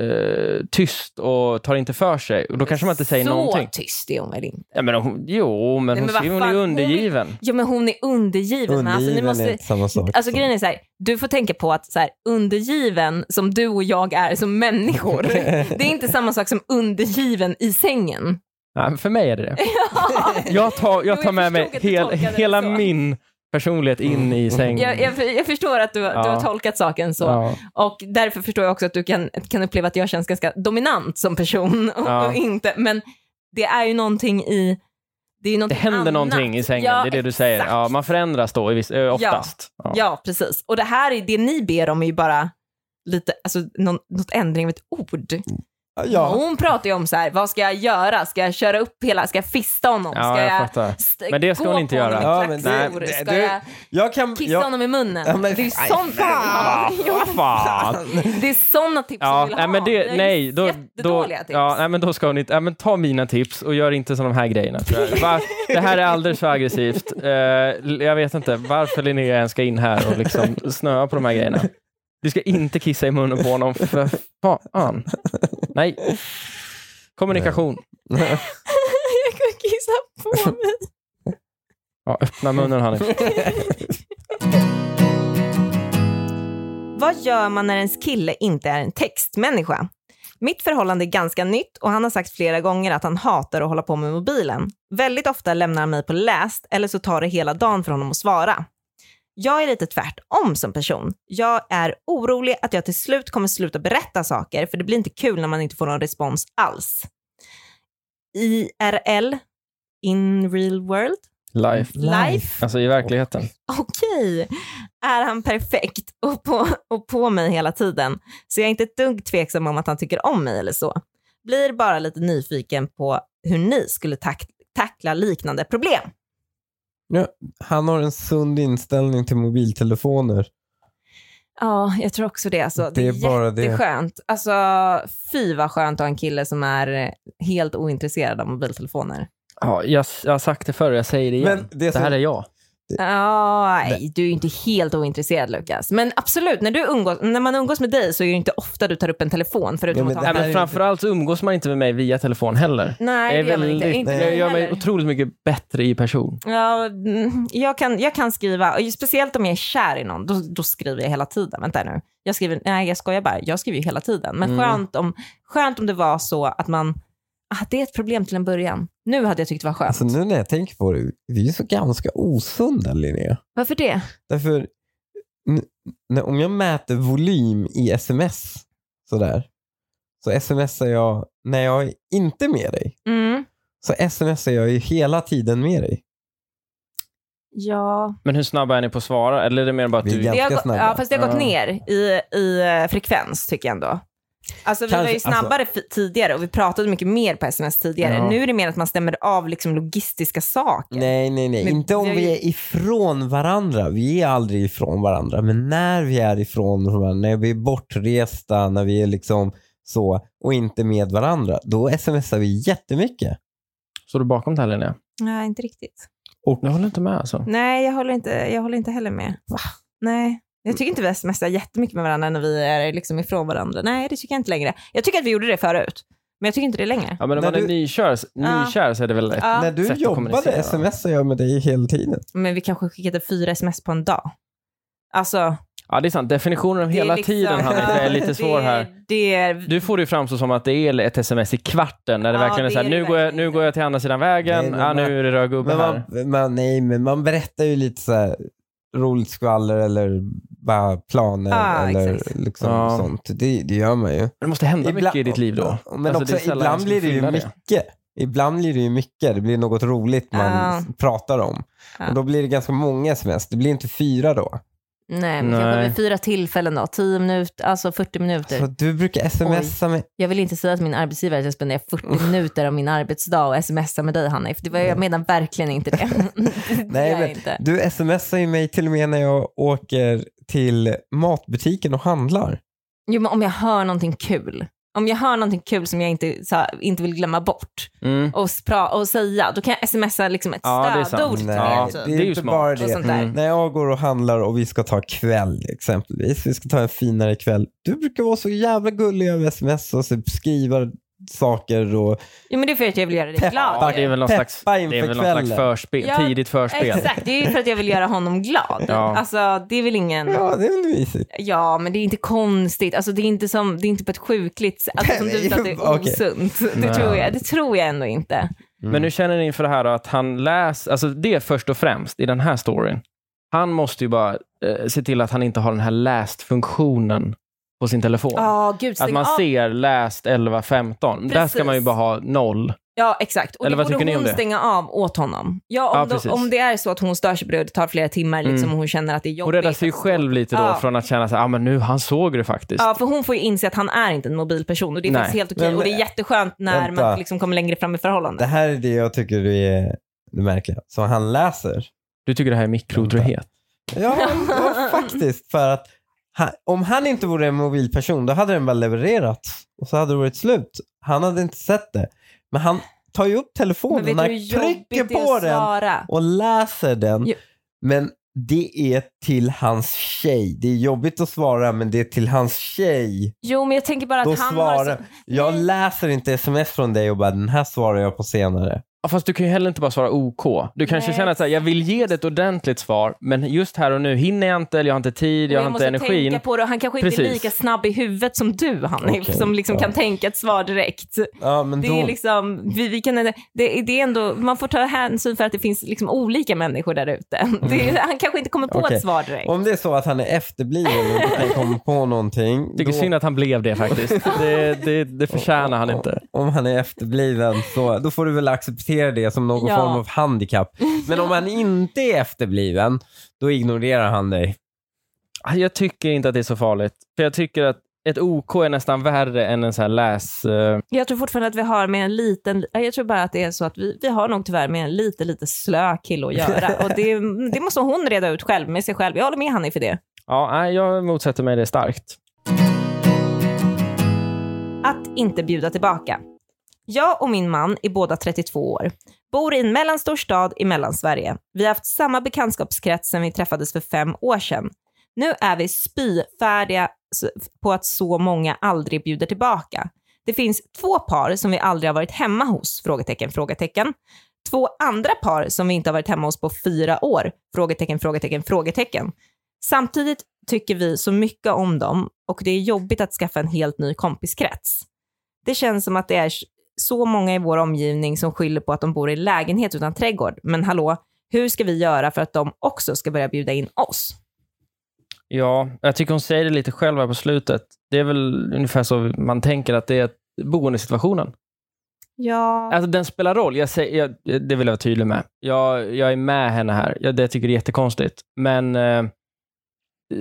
eh, tyst och tar inte för sig. Och då kanske man inte säger
Så
någonting.
tyst är hon väl inte?
Ja, men hon, jo, men,
Nej,
hon,
men vad
skriver- hon är
fan,
ju
hon vill-
undergiven.
Ja, men hon är undergiven. men alltså, ni
Undergiven är
måste,
inte samma sak.
Alltså
som-
grejen är så här, du får tänka på att så här, undergiven som du och jag är som människor, det är inte samma sak som undergiven i sängen.
Nej, men för mig är det det. Jag tar,
Jo,
jag
jag
tar med
förstod
mig
att du
hel,
tolkade det
hela
så. Mm.
min personlighet in i sängen.
Jag, jag, för- jag förstår att du, du
Ja.
har tolkat saken så.
Ja.
Och därför förstår jag också att du kan, kan uppleva att jag känns ganska dominant som person. Och,
Ja.
och inte, men det är ju någonting i... Det, är ju
Det
någonting
händer
annat.
någonting i sängen,
Ja,
det är det du
exakt.
säger. Ja, man förändras då i viss, eh, oftast. Ja.
Ja, precis. Och det här är det ni ber om är ju bara lite, alltså någon, något ändring av ett ord.
Ja.
Hon pratar ju om så här, vad ska jag göra? Ska jag köra upp hela, ska jag fista honom?
Ja,
ska
jag
jag
fattar.
st-
Men det ska
gå
hon inte
på honom
göra.
med
Ja, men det-
klackskor?
det-
ska
du-
jag
Jag kan...
kissa
jag,
honom i munnen?
Ja, men-
det är ju
Nej,
sånt
men-
Ja, jo,
Vad fan!
Det är sådana tips
Ja,
hon vill
nej,
ha.
men
Jag
det,
är
nej, då, då,
jättedåliga tips.
ja, nej, men då ska hon inte, ja, men ta mina tips och gör inte som de här grejerna. Tror jag. Va- det här är alldeles för aggressivt. Eh, jag vet inte varför Linnea ens ska in här och liksom snöa på de här grejerna. Du ska inte kissa i munnen på honom, för fan. Nej. Kommunikation.
jag kan kissa på mig.
Ja, öppna munnen Hanif.
Vad gör man när ens kille inte är en textmänniska? Mitt förhållande är ganska nytt och han har sagt flera gånger att han hatar att hålla på med mobilen. Väldigt ofta lämnar han mig på läst eller så tar det hela dagen för honom att svara. Jag är lite tvärtom som person. Jag är orolig att jag till slut kommer sluta berätta saker för det blir inte kul när man inte får någon respons alls. IRL, in real world,
Life.
life.
Alltså i verkligheten.
okej, är han perfekt och på, och på mig hela tiden? Så jag är inte ett dugg tveksam om att han tycker om mig eller så. Blir bara lite nyfiken på hur ni skulle tack, tackla liknande problem.
Han har en sund inställning till mobiltelefoner.
Ja, jag tror också det. Alltså, det,
Det
är
är bara det.
jätteskönt. Alltså, fy vad skönt att ha en kille som är helt ointresserad av mobiltelefoner.
Ja, jag, jag har sagt det förr, jag säger det igen.
Men det
det,
som-
här är jag.
Ja, nej, du är ju inte helt ointresserad Lukas. Men absolut, när, du umgås, när man umgås med dig så är det ju inte ofta du tar upp en telefon
Ja,
förutom
men
att ta
det
Nej,
en
här är
men
inte-
framförallt så umgås man inte med mig via telefon heller.
Nej, det gör man inte. inte
jag gör mig
heller.
otroligt mycket bättre i person.
ja, mm, jag, kan, jag kan skriva, och ju speciellt om jag är kär i någon, då, då skriver jag hela tiden. Vänta nu. Jag skriver, nej jag skojar bara, jag skriver ju hela tiden. Men
Mm.
skönt, om, skönt om det var så att man, ah, det är ett problem till en början. Nu hade jag tyckt det var skönt.
Alltså nu när jag tänker på det, vi är ju så ganska osunda Linnea.
Varför det?
Därför, n- när, om jag mäter volym i sms sådär, så smsar jag när jag är inte med dig.
Mm.
Så smsar jag ju hela tiden med dig.
Ja.
Men hur snabba är ni på att svara? Eller är det mer bara att
Vi är
du...
Det har,
Ganska
gå-
snabba.
ja, fast det har gått
Ja.
ner i, i eh, frekvens tycker jag ändå. Alltså vi
Kanske-
var ju snabbare fi- tidigare och vi pratade mycket mer på sms tidigare.
Ja.
Nu är det mer att man stämmer av liksom logistiska saker.
Nej, nej, nej.
Men
inte om
vi har
vi
ju-
är ifrån varandra. Vi är aldrig ifrån varandra. Men när vi är ifrån varandra, när vi är bortresta, när vi är liksom så och inte med varandra, då smsar vi jättemycket.
Står du bakom det här Linnea?
Nej, inte riktigt.
Jag håller inte med alltså.
Nej, jag håller inte, jag håller inte heller med. Va? Nej.
Mm.
Jag tycker inte vi smsar jättemycket med varandra när vi är liksom ifrån varandra. Nej, det tycker jag inte längre. Jag tycker att vi gjorde det förut, men jag tycker inte det längre.
Ja, men om
När
man är
du-
nykär,
Ja.
nykär så är det väl ett...
Ja,
när
sätt
du
att kommunicera.
jobbade smsar jag med dig hela tiden.
men vi kanske skickade fyra sms på en dag. Alltså,
Ja, det är sant. Definitionen av
det är
hela
liksom-
tiden Hanif, är
Ja,
lite svår
det,
här.
Det är
Du får det ju framstå som att det är ett sms i kvarten när det
Ja,
verkligen är
det
så här,
är det
nu går, jag,
verkligen
nu går jag till andra sidan vägen,
Nej, men
ja,
man-
nu är det röd gubbe
Men
här.
man, man, nej, men man berättar ju lite så här roligt skvaller eller bara planer
Ah,
eller
exakt.
liksom
Ja.
sånt. Det, det gör man ju.
Det måste hända mycket i ditt liv då.
Ja, Men
Alltså, det är
också
sällan
ibland
jag
blir det
skulle
ju
fylla
mycket. Ibland blir det ju mycket. Det blir något roligt man
Ja.
s- pratar om.
Ja.
Och då blir det ganska många sms. Det blir inte fyra då.
Nej, men
Nej.
kanske vid fyra tillfällen då. 10 minuter, alltså 40
Typ.
minuter.
Så du brukar smsa mig.
Jag vill inte säga att min arbetsgivare ska spendera 40 minuter av min arbetsdag och smsa med dig Hanif. Det var, jag menar verkligen inte det.
Nej,
Nej, jag
men-
inte.
Du smsar ju mig till och med när jag åker till matbutiken och handlar.
Jo, men om jag hör någonting kul. Om jag hör någonting kul som jag inte, så här, inte vill glömma bort
Mm.
och, spra- och säga, då kan jag smsa liksom ett
Ja, det är sant.
stödord till
Nej,
Ja,
er.
det
Typ.
är,
det är ju
inte
smart.
bara
Och
det.
sånt där.
Mm.
När jag går och handlar och vi ska ta kväll exempelvis. Vi ska ta en finare kväll. Du brukar vara så jävla gullig över sms och så skriva saker och
Jo, men det är för att jag vill göra dig
Peppa.
Ja,
glad.
det är väl någon
Peppa
slags,
inför
det är väl någon slags
kvällen.
förspel,
Ja,
tidigt förspel.
Exakt, det är ju för att jag vill göra honom glad.
Ja.
Alltså, det är väl ingen...
ja, det är väl mysigt.
Ja, men det är inte konstigt. Alltså, det, är inte som, det är inte på ett sjukligt sätt. Alltså, som du
Nej,
sa, att det är
okej.
osunt.
Nej.
Det tror, jag, det tror jag ändå inte.
Mm. Men nu känner ni inför det här då, att han läser, alltså det först och främst i den här storyn. Han måste ju bara eh, se till att han inte har den här läst-funktionen på sin telefon.
Ja, gud.
att
stäng
man
av.
ser läst 11, 15. Där ska
Precis.
man ju bara ha noll.
Ja, exakt. Och
Eller
Eller
vad
då
tycker ni
borde
om
hon
det?
stänga av åt honom. Ja, om,
Ja, precis.
då, om det är så att hon stör sig på det och det tar flera timmar liksom,
Mm.
och hon känner att det är jobbigt.
Hon räddar sig ju själv lite då
Ja.
från att känna så här, ah, men nu, han såg det faktiskt.
Ja, för hon får ju inse att han är inte en mobilperson och det är
Nej.
faktiskt helt okej.
Men- eh,
och det är jätteskönt när
Vänta.
man liksom kommer längre fram i
Det
förhållandet.
här är det jag tycker är det märkliga. Som han läser.
Du tycker det här är mikrotrohet.
Ja, ja faktiskt. För att han, om han inte vore en mobilperson då hade den bara levererat. Och så hade det varit slut. Han hade inte sett det. Men han tar ju upp
Men
telefonen,
vet du
han
hur jobbigt det
trycker
är
på
att
den
svara?
och läser den.
Jo.
Men det är till hans tjej. Det är jobbigt att svara men det är till hans tjej.
Jo, men jag tänker bara att
Då
han har... Så...
svarar... Jag
Nej.
läser inte sms från dig och bara den här svarar jag på senare.
Ja, fast du kan ju heller inte bara svara OK. Du kanske
Nej.
känner att så här, jag vill ge dig ett ordentligt svar, men just här och nu hinner jag inte, eller jag har inte tid, jag,
Jag,
har inte
måste
energin.
tänka på det och han kanske inte
Precis.
är lika snabb i huvudet som du Hanif,
Okej,
som liksom
ja.
kan tänka ett svar direkt.
Ja, men
Det
då...
är liksom, vi, vi kan, det, det är ändå, man får ta hänsyn för att det finns liksom olika människor där ute. Det är- Han kanske inte kommer på
Okej.
ett svar direkt.
Om det är så att han är efterbliven och inte kan komma på någonting.
Tycker
då-
synd att han blev det faktiskt. Det, det, det förtjänar han inte.
Om han är efterbliven så då får du väl acceptera det som någon
Ja.
form av handikapp. Men om han inte är efterbliven, då ignorerar han dig.
Ah, Jag tycker inte att det är så farligt. För jag tycker att ett OK är nästan värre än en sån här läs... eh,
Jag tror fortfarande att vi har med en liten, jag tror bara att det är så att vi, vi har nog tyvärr med en lite, lite slö kille att göra. Och det, det måste hon reda ut själv med sig själv. Jag håller med Hanif för det.
Ja, nej, jag motsätter mig det starkt.
Att inte bjuda tillbaka. Jag och min man är båda 32 år. Bor i en mellanstor stad i Mellansverige. Vi har haft samma bekantskapskrets sedan vi träffades för fem år sedan. Nu är vi spyfärdiga s- på att så många aldrig bjuder tillbaka. Det finns två par som vi aldrig har varit hemma hos? Frågetecken, frågetecken. Två andra par som vi inte har varit hemma hos på fyra år? Frågetecken, frågetecken, frågetecken. Samtidigt tycker vi så mycket om dem och det är jobbigt att skaffa en helt ny kompiskrets. Det känns som att det är så många i vår omgivning som skyller på att de bor i lägenhet utan trädgård. Men hallå, hur ska vi göra för att de också ska börja bjuda in oss?
Ja, jag tycker hon säger det lite själv här på slutet. Det är väl ungefär så man tänker att det är boendesituationen.
Ja.
Alltså den spelar roll, jag säger, jag, det vill jag vara tydlig med. Jag, jag är med henne här, jag, det tycker jag är jättekonstigt. Men eh,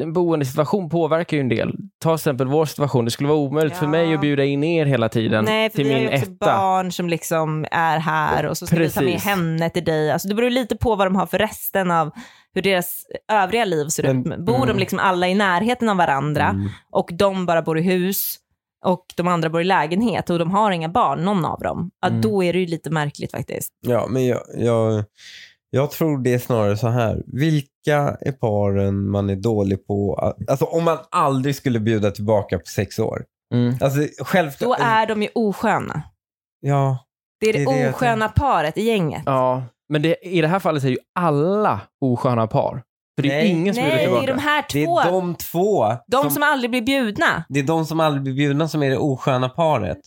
en boendesituation påverkar ju en del. Ta till exempel vår situation, det skulle vara omöjligt för
Ja.
mig att bjuda in er hela tiden
Nej, för
till
vi har
min
ju också
etta.
barn som liksom är här och så ska vi ta med
Precis.
henne till dig. Alltså det beror ju lite på vad de har för resten av hur deras övriga liv ser ut.
Men-
Bor
mm.
de liksom alla i närheten av varandra
Mm.
och de bara bor i hus och de andra bor i lägenhet och de har inga barn, någon av dem. Ja,
Mm.
Då är det ju lite märkligt faktiskt.
Ja, men jag, jag, jag tror det är snarare så här. Vilka är paren man är dålig på? att- Alltså om man aldrig skulle bjuda tillbaka på sex år.
Mm.
Alltså självklart.
Då är de ju osköna.
Ja,
Det är det,
Det är det jag
osköna paret i gänget.
Ja, men det, i det här fallet är ju alla osköna par. För det är
Nej.
ju ingen som bjuder
Nej, det är
tillbaka.
de här
det är
två. De,
de två.
som, aldrig blir bjudna.
Det är de som aldrig blir bjudna som är det osköna paret.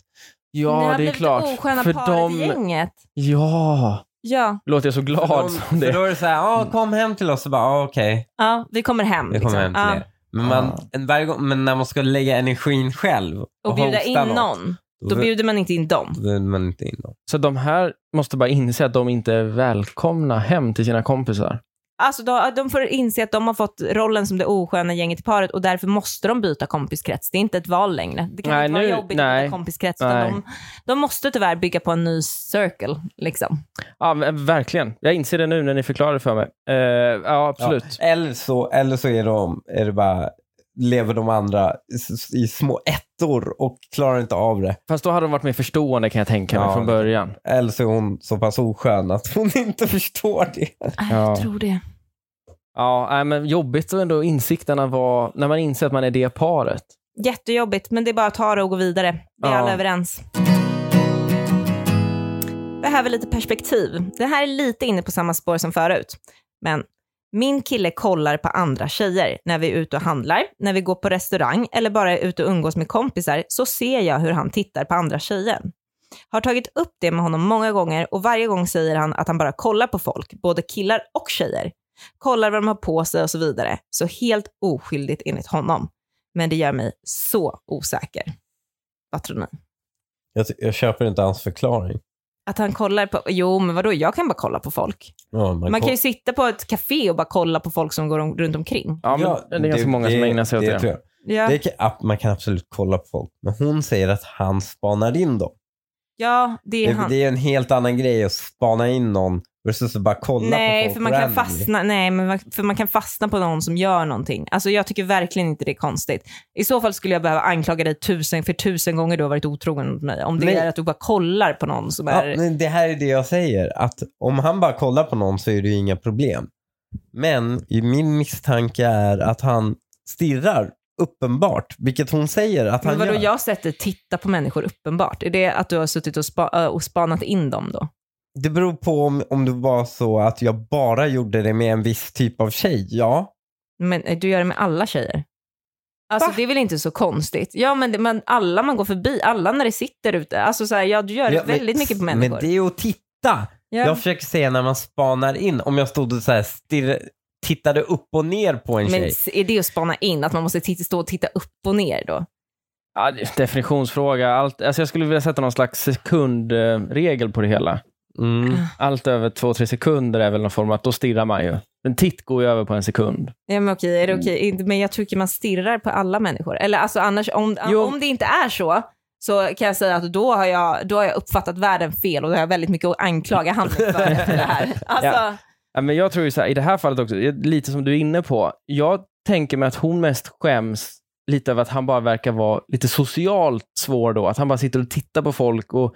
Ni
Ja,
har
det är
blivit
klart.
Det osköna
För
paret i
de...
gänget.
Ja,
Ja,
låter jag så glad
för, de,
som
för
det.
då är det så här, ah, kom hem till oss och bara, ah, okej,
ja, vi kommer hem. liksom.
vi kommer hem till
ja.
er. Men, man, en, varje gång, men när man ska lägga energin själv och,
och bjuda
hosta
in
något,
någon,
då
då bjuder man inte in dem.
då bjuder man inte in någon.
Så de här måste bara inse att de inte är välkomna hem till sina kompisar.
Alltså då, de får inse att de har fått rollen som det osköna gänget i paret och därför måste de byta kompiskrets. Det är inte ett val längre. Det kan
Nej,
inte vara
nu-
jobbigt att
nej.
byta kompiskrets. utan
Nej.
De, de måste tyvärr bygga på en ny circle. Liksom.
Ja, men eh, verkligen. Jag inser det nu när ni förklarar det för mig. Eh, ja, absolut.
Eller så, eller så är, de, är det bara, lever de andra i- i små ettor och klarar inte av det.
Fast då hade de varit mer förstående kan jag tänka mig
Ja.
från början.
Eller så är hon så pass oskön att hon inte förstår det.
Nej,
Ja.
Jag tror det.
Ja, nej, men jobbigt att ändå insikterna var när man inser att man är det paret.
Jättejobbigt, men det är bara att ta det och gå vidare. Vi är
Ja.
alla överens. Behöver lite perspektiv. Det här är lite inne på samma spår som förut. Men min kille kollar på andra tjejer. När vi är ute och handlar, när vi går på restaurang eller bara är ute och umgås med kompisar så ser jag hur han tittar på andra tjejer. Har tagit upp det med honom många gånger och varje gång säger han att han bara kollar på folk, både killar och tjejer. Kollar vad de har på sig och så vidare. Så helt oskyldigt enligt honom men det gör mig så osäker. Vad tror ni?
Jag, jag köper inte hans förklaring.
Att han kollar på, jo men vadå, jag kan bara kolla på folk.
Ja, man
Man kan ju sitta på ett café och bara kolla på folk som går om, runt omkring.
Ja, men det är ganska många som ägnar sig åt det.
tror jag.
Ja.
Det kan, ab- man kan absolut kolla på folk, men hon säger att han spanar in dem.
ja, det är
Det,
han.
det är en helt annan grej att spana in någon versus att bara kolla på
Nej,
folk
för man, kan
randomly.
fastna, nej men, man- för man kan fastna på någon som gör någonting. Alltså jag tycker verkligen inte det är konstigt. I så fall skulle jag behöva anklaga dig tusen, för tusen gånger du har varit otrogen mot mig. Om det
Nej.
är att du bara kollar på någon som
Ja,
är...
men det här är det jag säger, att om han bara kollar på någon så är det ju inga problem. Men i min misstanke är att han stirrar uppenbart, vilket hon säger att han
Men vadå,
gör.
jag har sett dig titta på människor uppenbart. Är det att du har suttit och, spa, ö, och spanat in dem då?
Det beror på om, om det var så att jag bara gjorde det med en viss typ av tjej, ja.
Men eh, du gör det med alla tjejer. Alltså
Va?
det är väl inte så konstigt? Ja men, det, men alla man går förbi, alla när det sitter ute. Alltså så här, ja du gör
Ja, men-
väldigt mycket på människor.
Men det är ju att titta.
ja.
Jag försöker säga när man spanar in, om jag stod och så här stirra, tittade upp och ner på en
men
tjej.
s- är det att spana in, att man måste titta, stå och titta upp och ner då?
Ja, det- definitionsfråga. Allt, alltså jag skulle vilja sätta någon slags sekundregel på det hela.
Mm.
Ah.
Allt över två, tre sekunder är väl någon form av att då stirrar man ju. En titt går ju över på en sekund.
Ja men okej,
Mm.
är det okej? Inte- Men jag tycker man stirrar på alla människor. Eller alltså annars, om,
Jo.
om det inte är så, så kan jag säga att då har jag, då har jag uppfattat världen fel och då har jag väldigt mycket att anklaga han för för det här. Alltså,
Ja, men jag tror ju så här, i det här fallet också, lite som du är inne på. Jag tänker mig att hon mest skäms lite över att han bara verkar vara lite socialt svår då. Att han bara sitter och tittar på folk och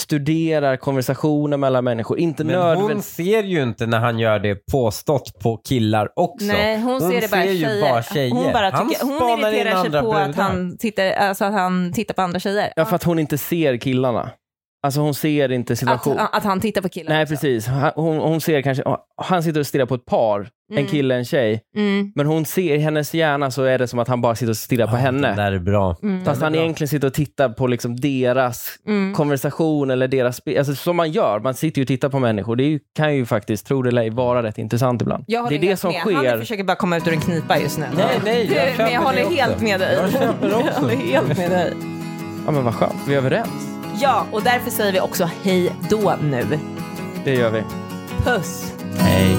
studerar konversationer mellan människor. Inte
Men hon
nödvändigtvis...
ser ju inte när han gör det påstått på killar också.
Nej, hon,
Hon
ser det bara,
ser ju
tjejer.
bara tjejer.
Hon, bara
Han
tycker, hon
spanar in
irriterar sig
andra
på att
brudar.
han, tittar, alltså att han tittar på andra tjejer.
Ja, för att hon inte ser killarna. Alltså hon ser inte
att,
situationen.
att han liksom. tittar på killar.
Nej, precis. Han- Hon, hon ser kanske, han sitter och stirrar på ett par, en
Mm.
kille en tjej.
Mm,
Men hon ser, i hennes hjärna så är det som att han bara sitter och stirrar på
Ja, Det
henne.
Ah, där är bra.
mm,
Fast han
bra.
egentligen sitter och tittar på liksom deras
mm.
konversation eller deras... spe- Alltså som man gör, man sitter ju och tittar på människor. Det är ju, kan ju faktiskt, tro det eller ej, vara rätt intressant ibland.
Jag
det
håller
är det
helt
som
med. Han
sker.
försöker bara komma ut ur en knipa just nu.
Nej, nej, jag
men
köper
jag håller
det också.
helt med dig.
Jag köper det
Jag
också.
håller helt med dig.
Ja men vad skönt, vi är överens.
Ja, och därför säger vi också hej då nu.
Det gör vi.
Puss!
Hej.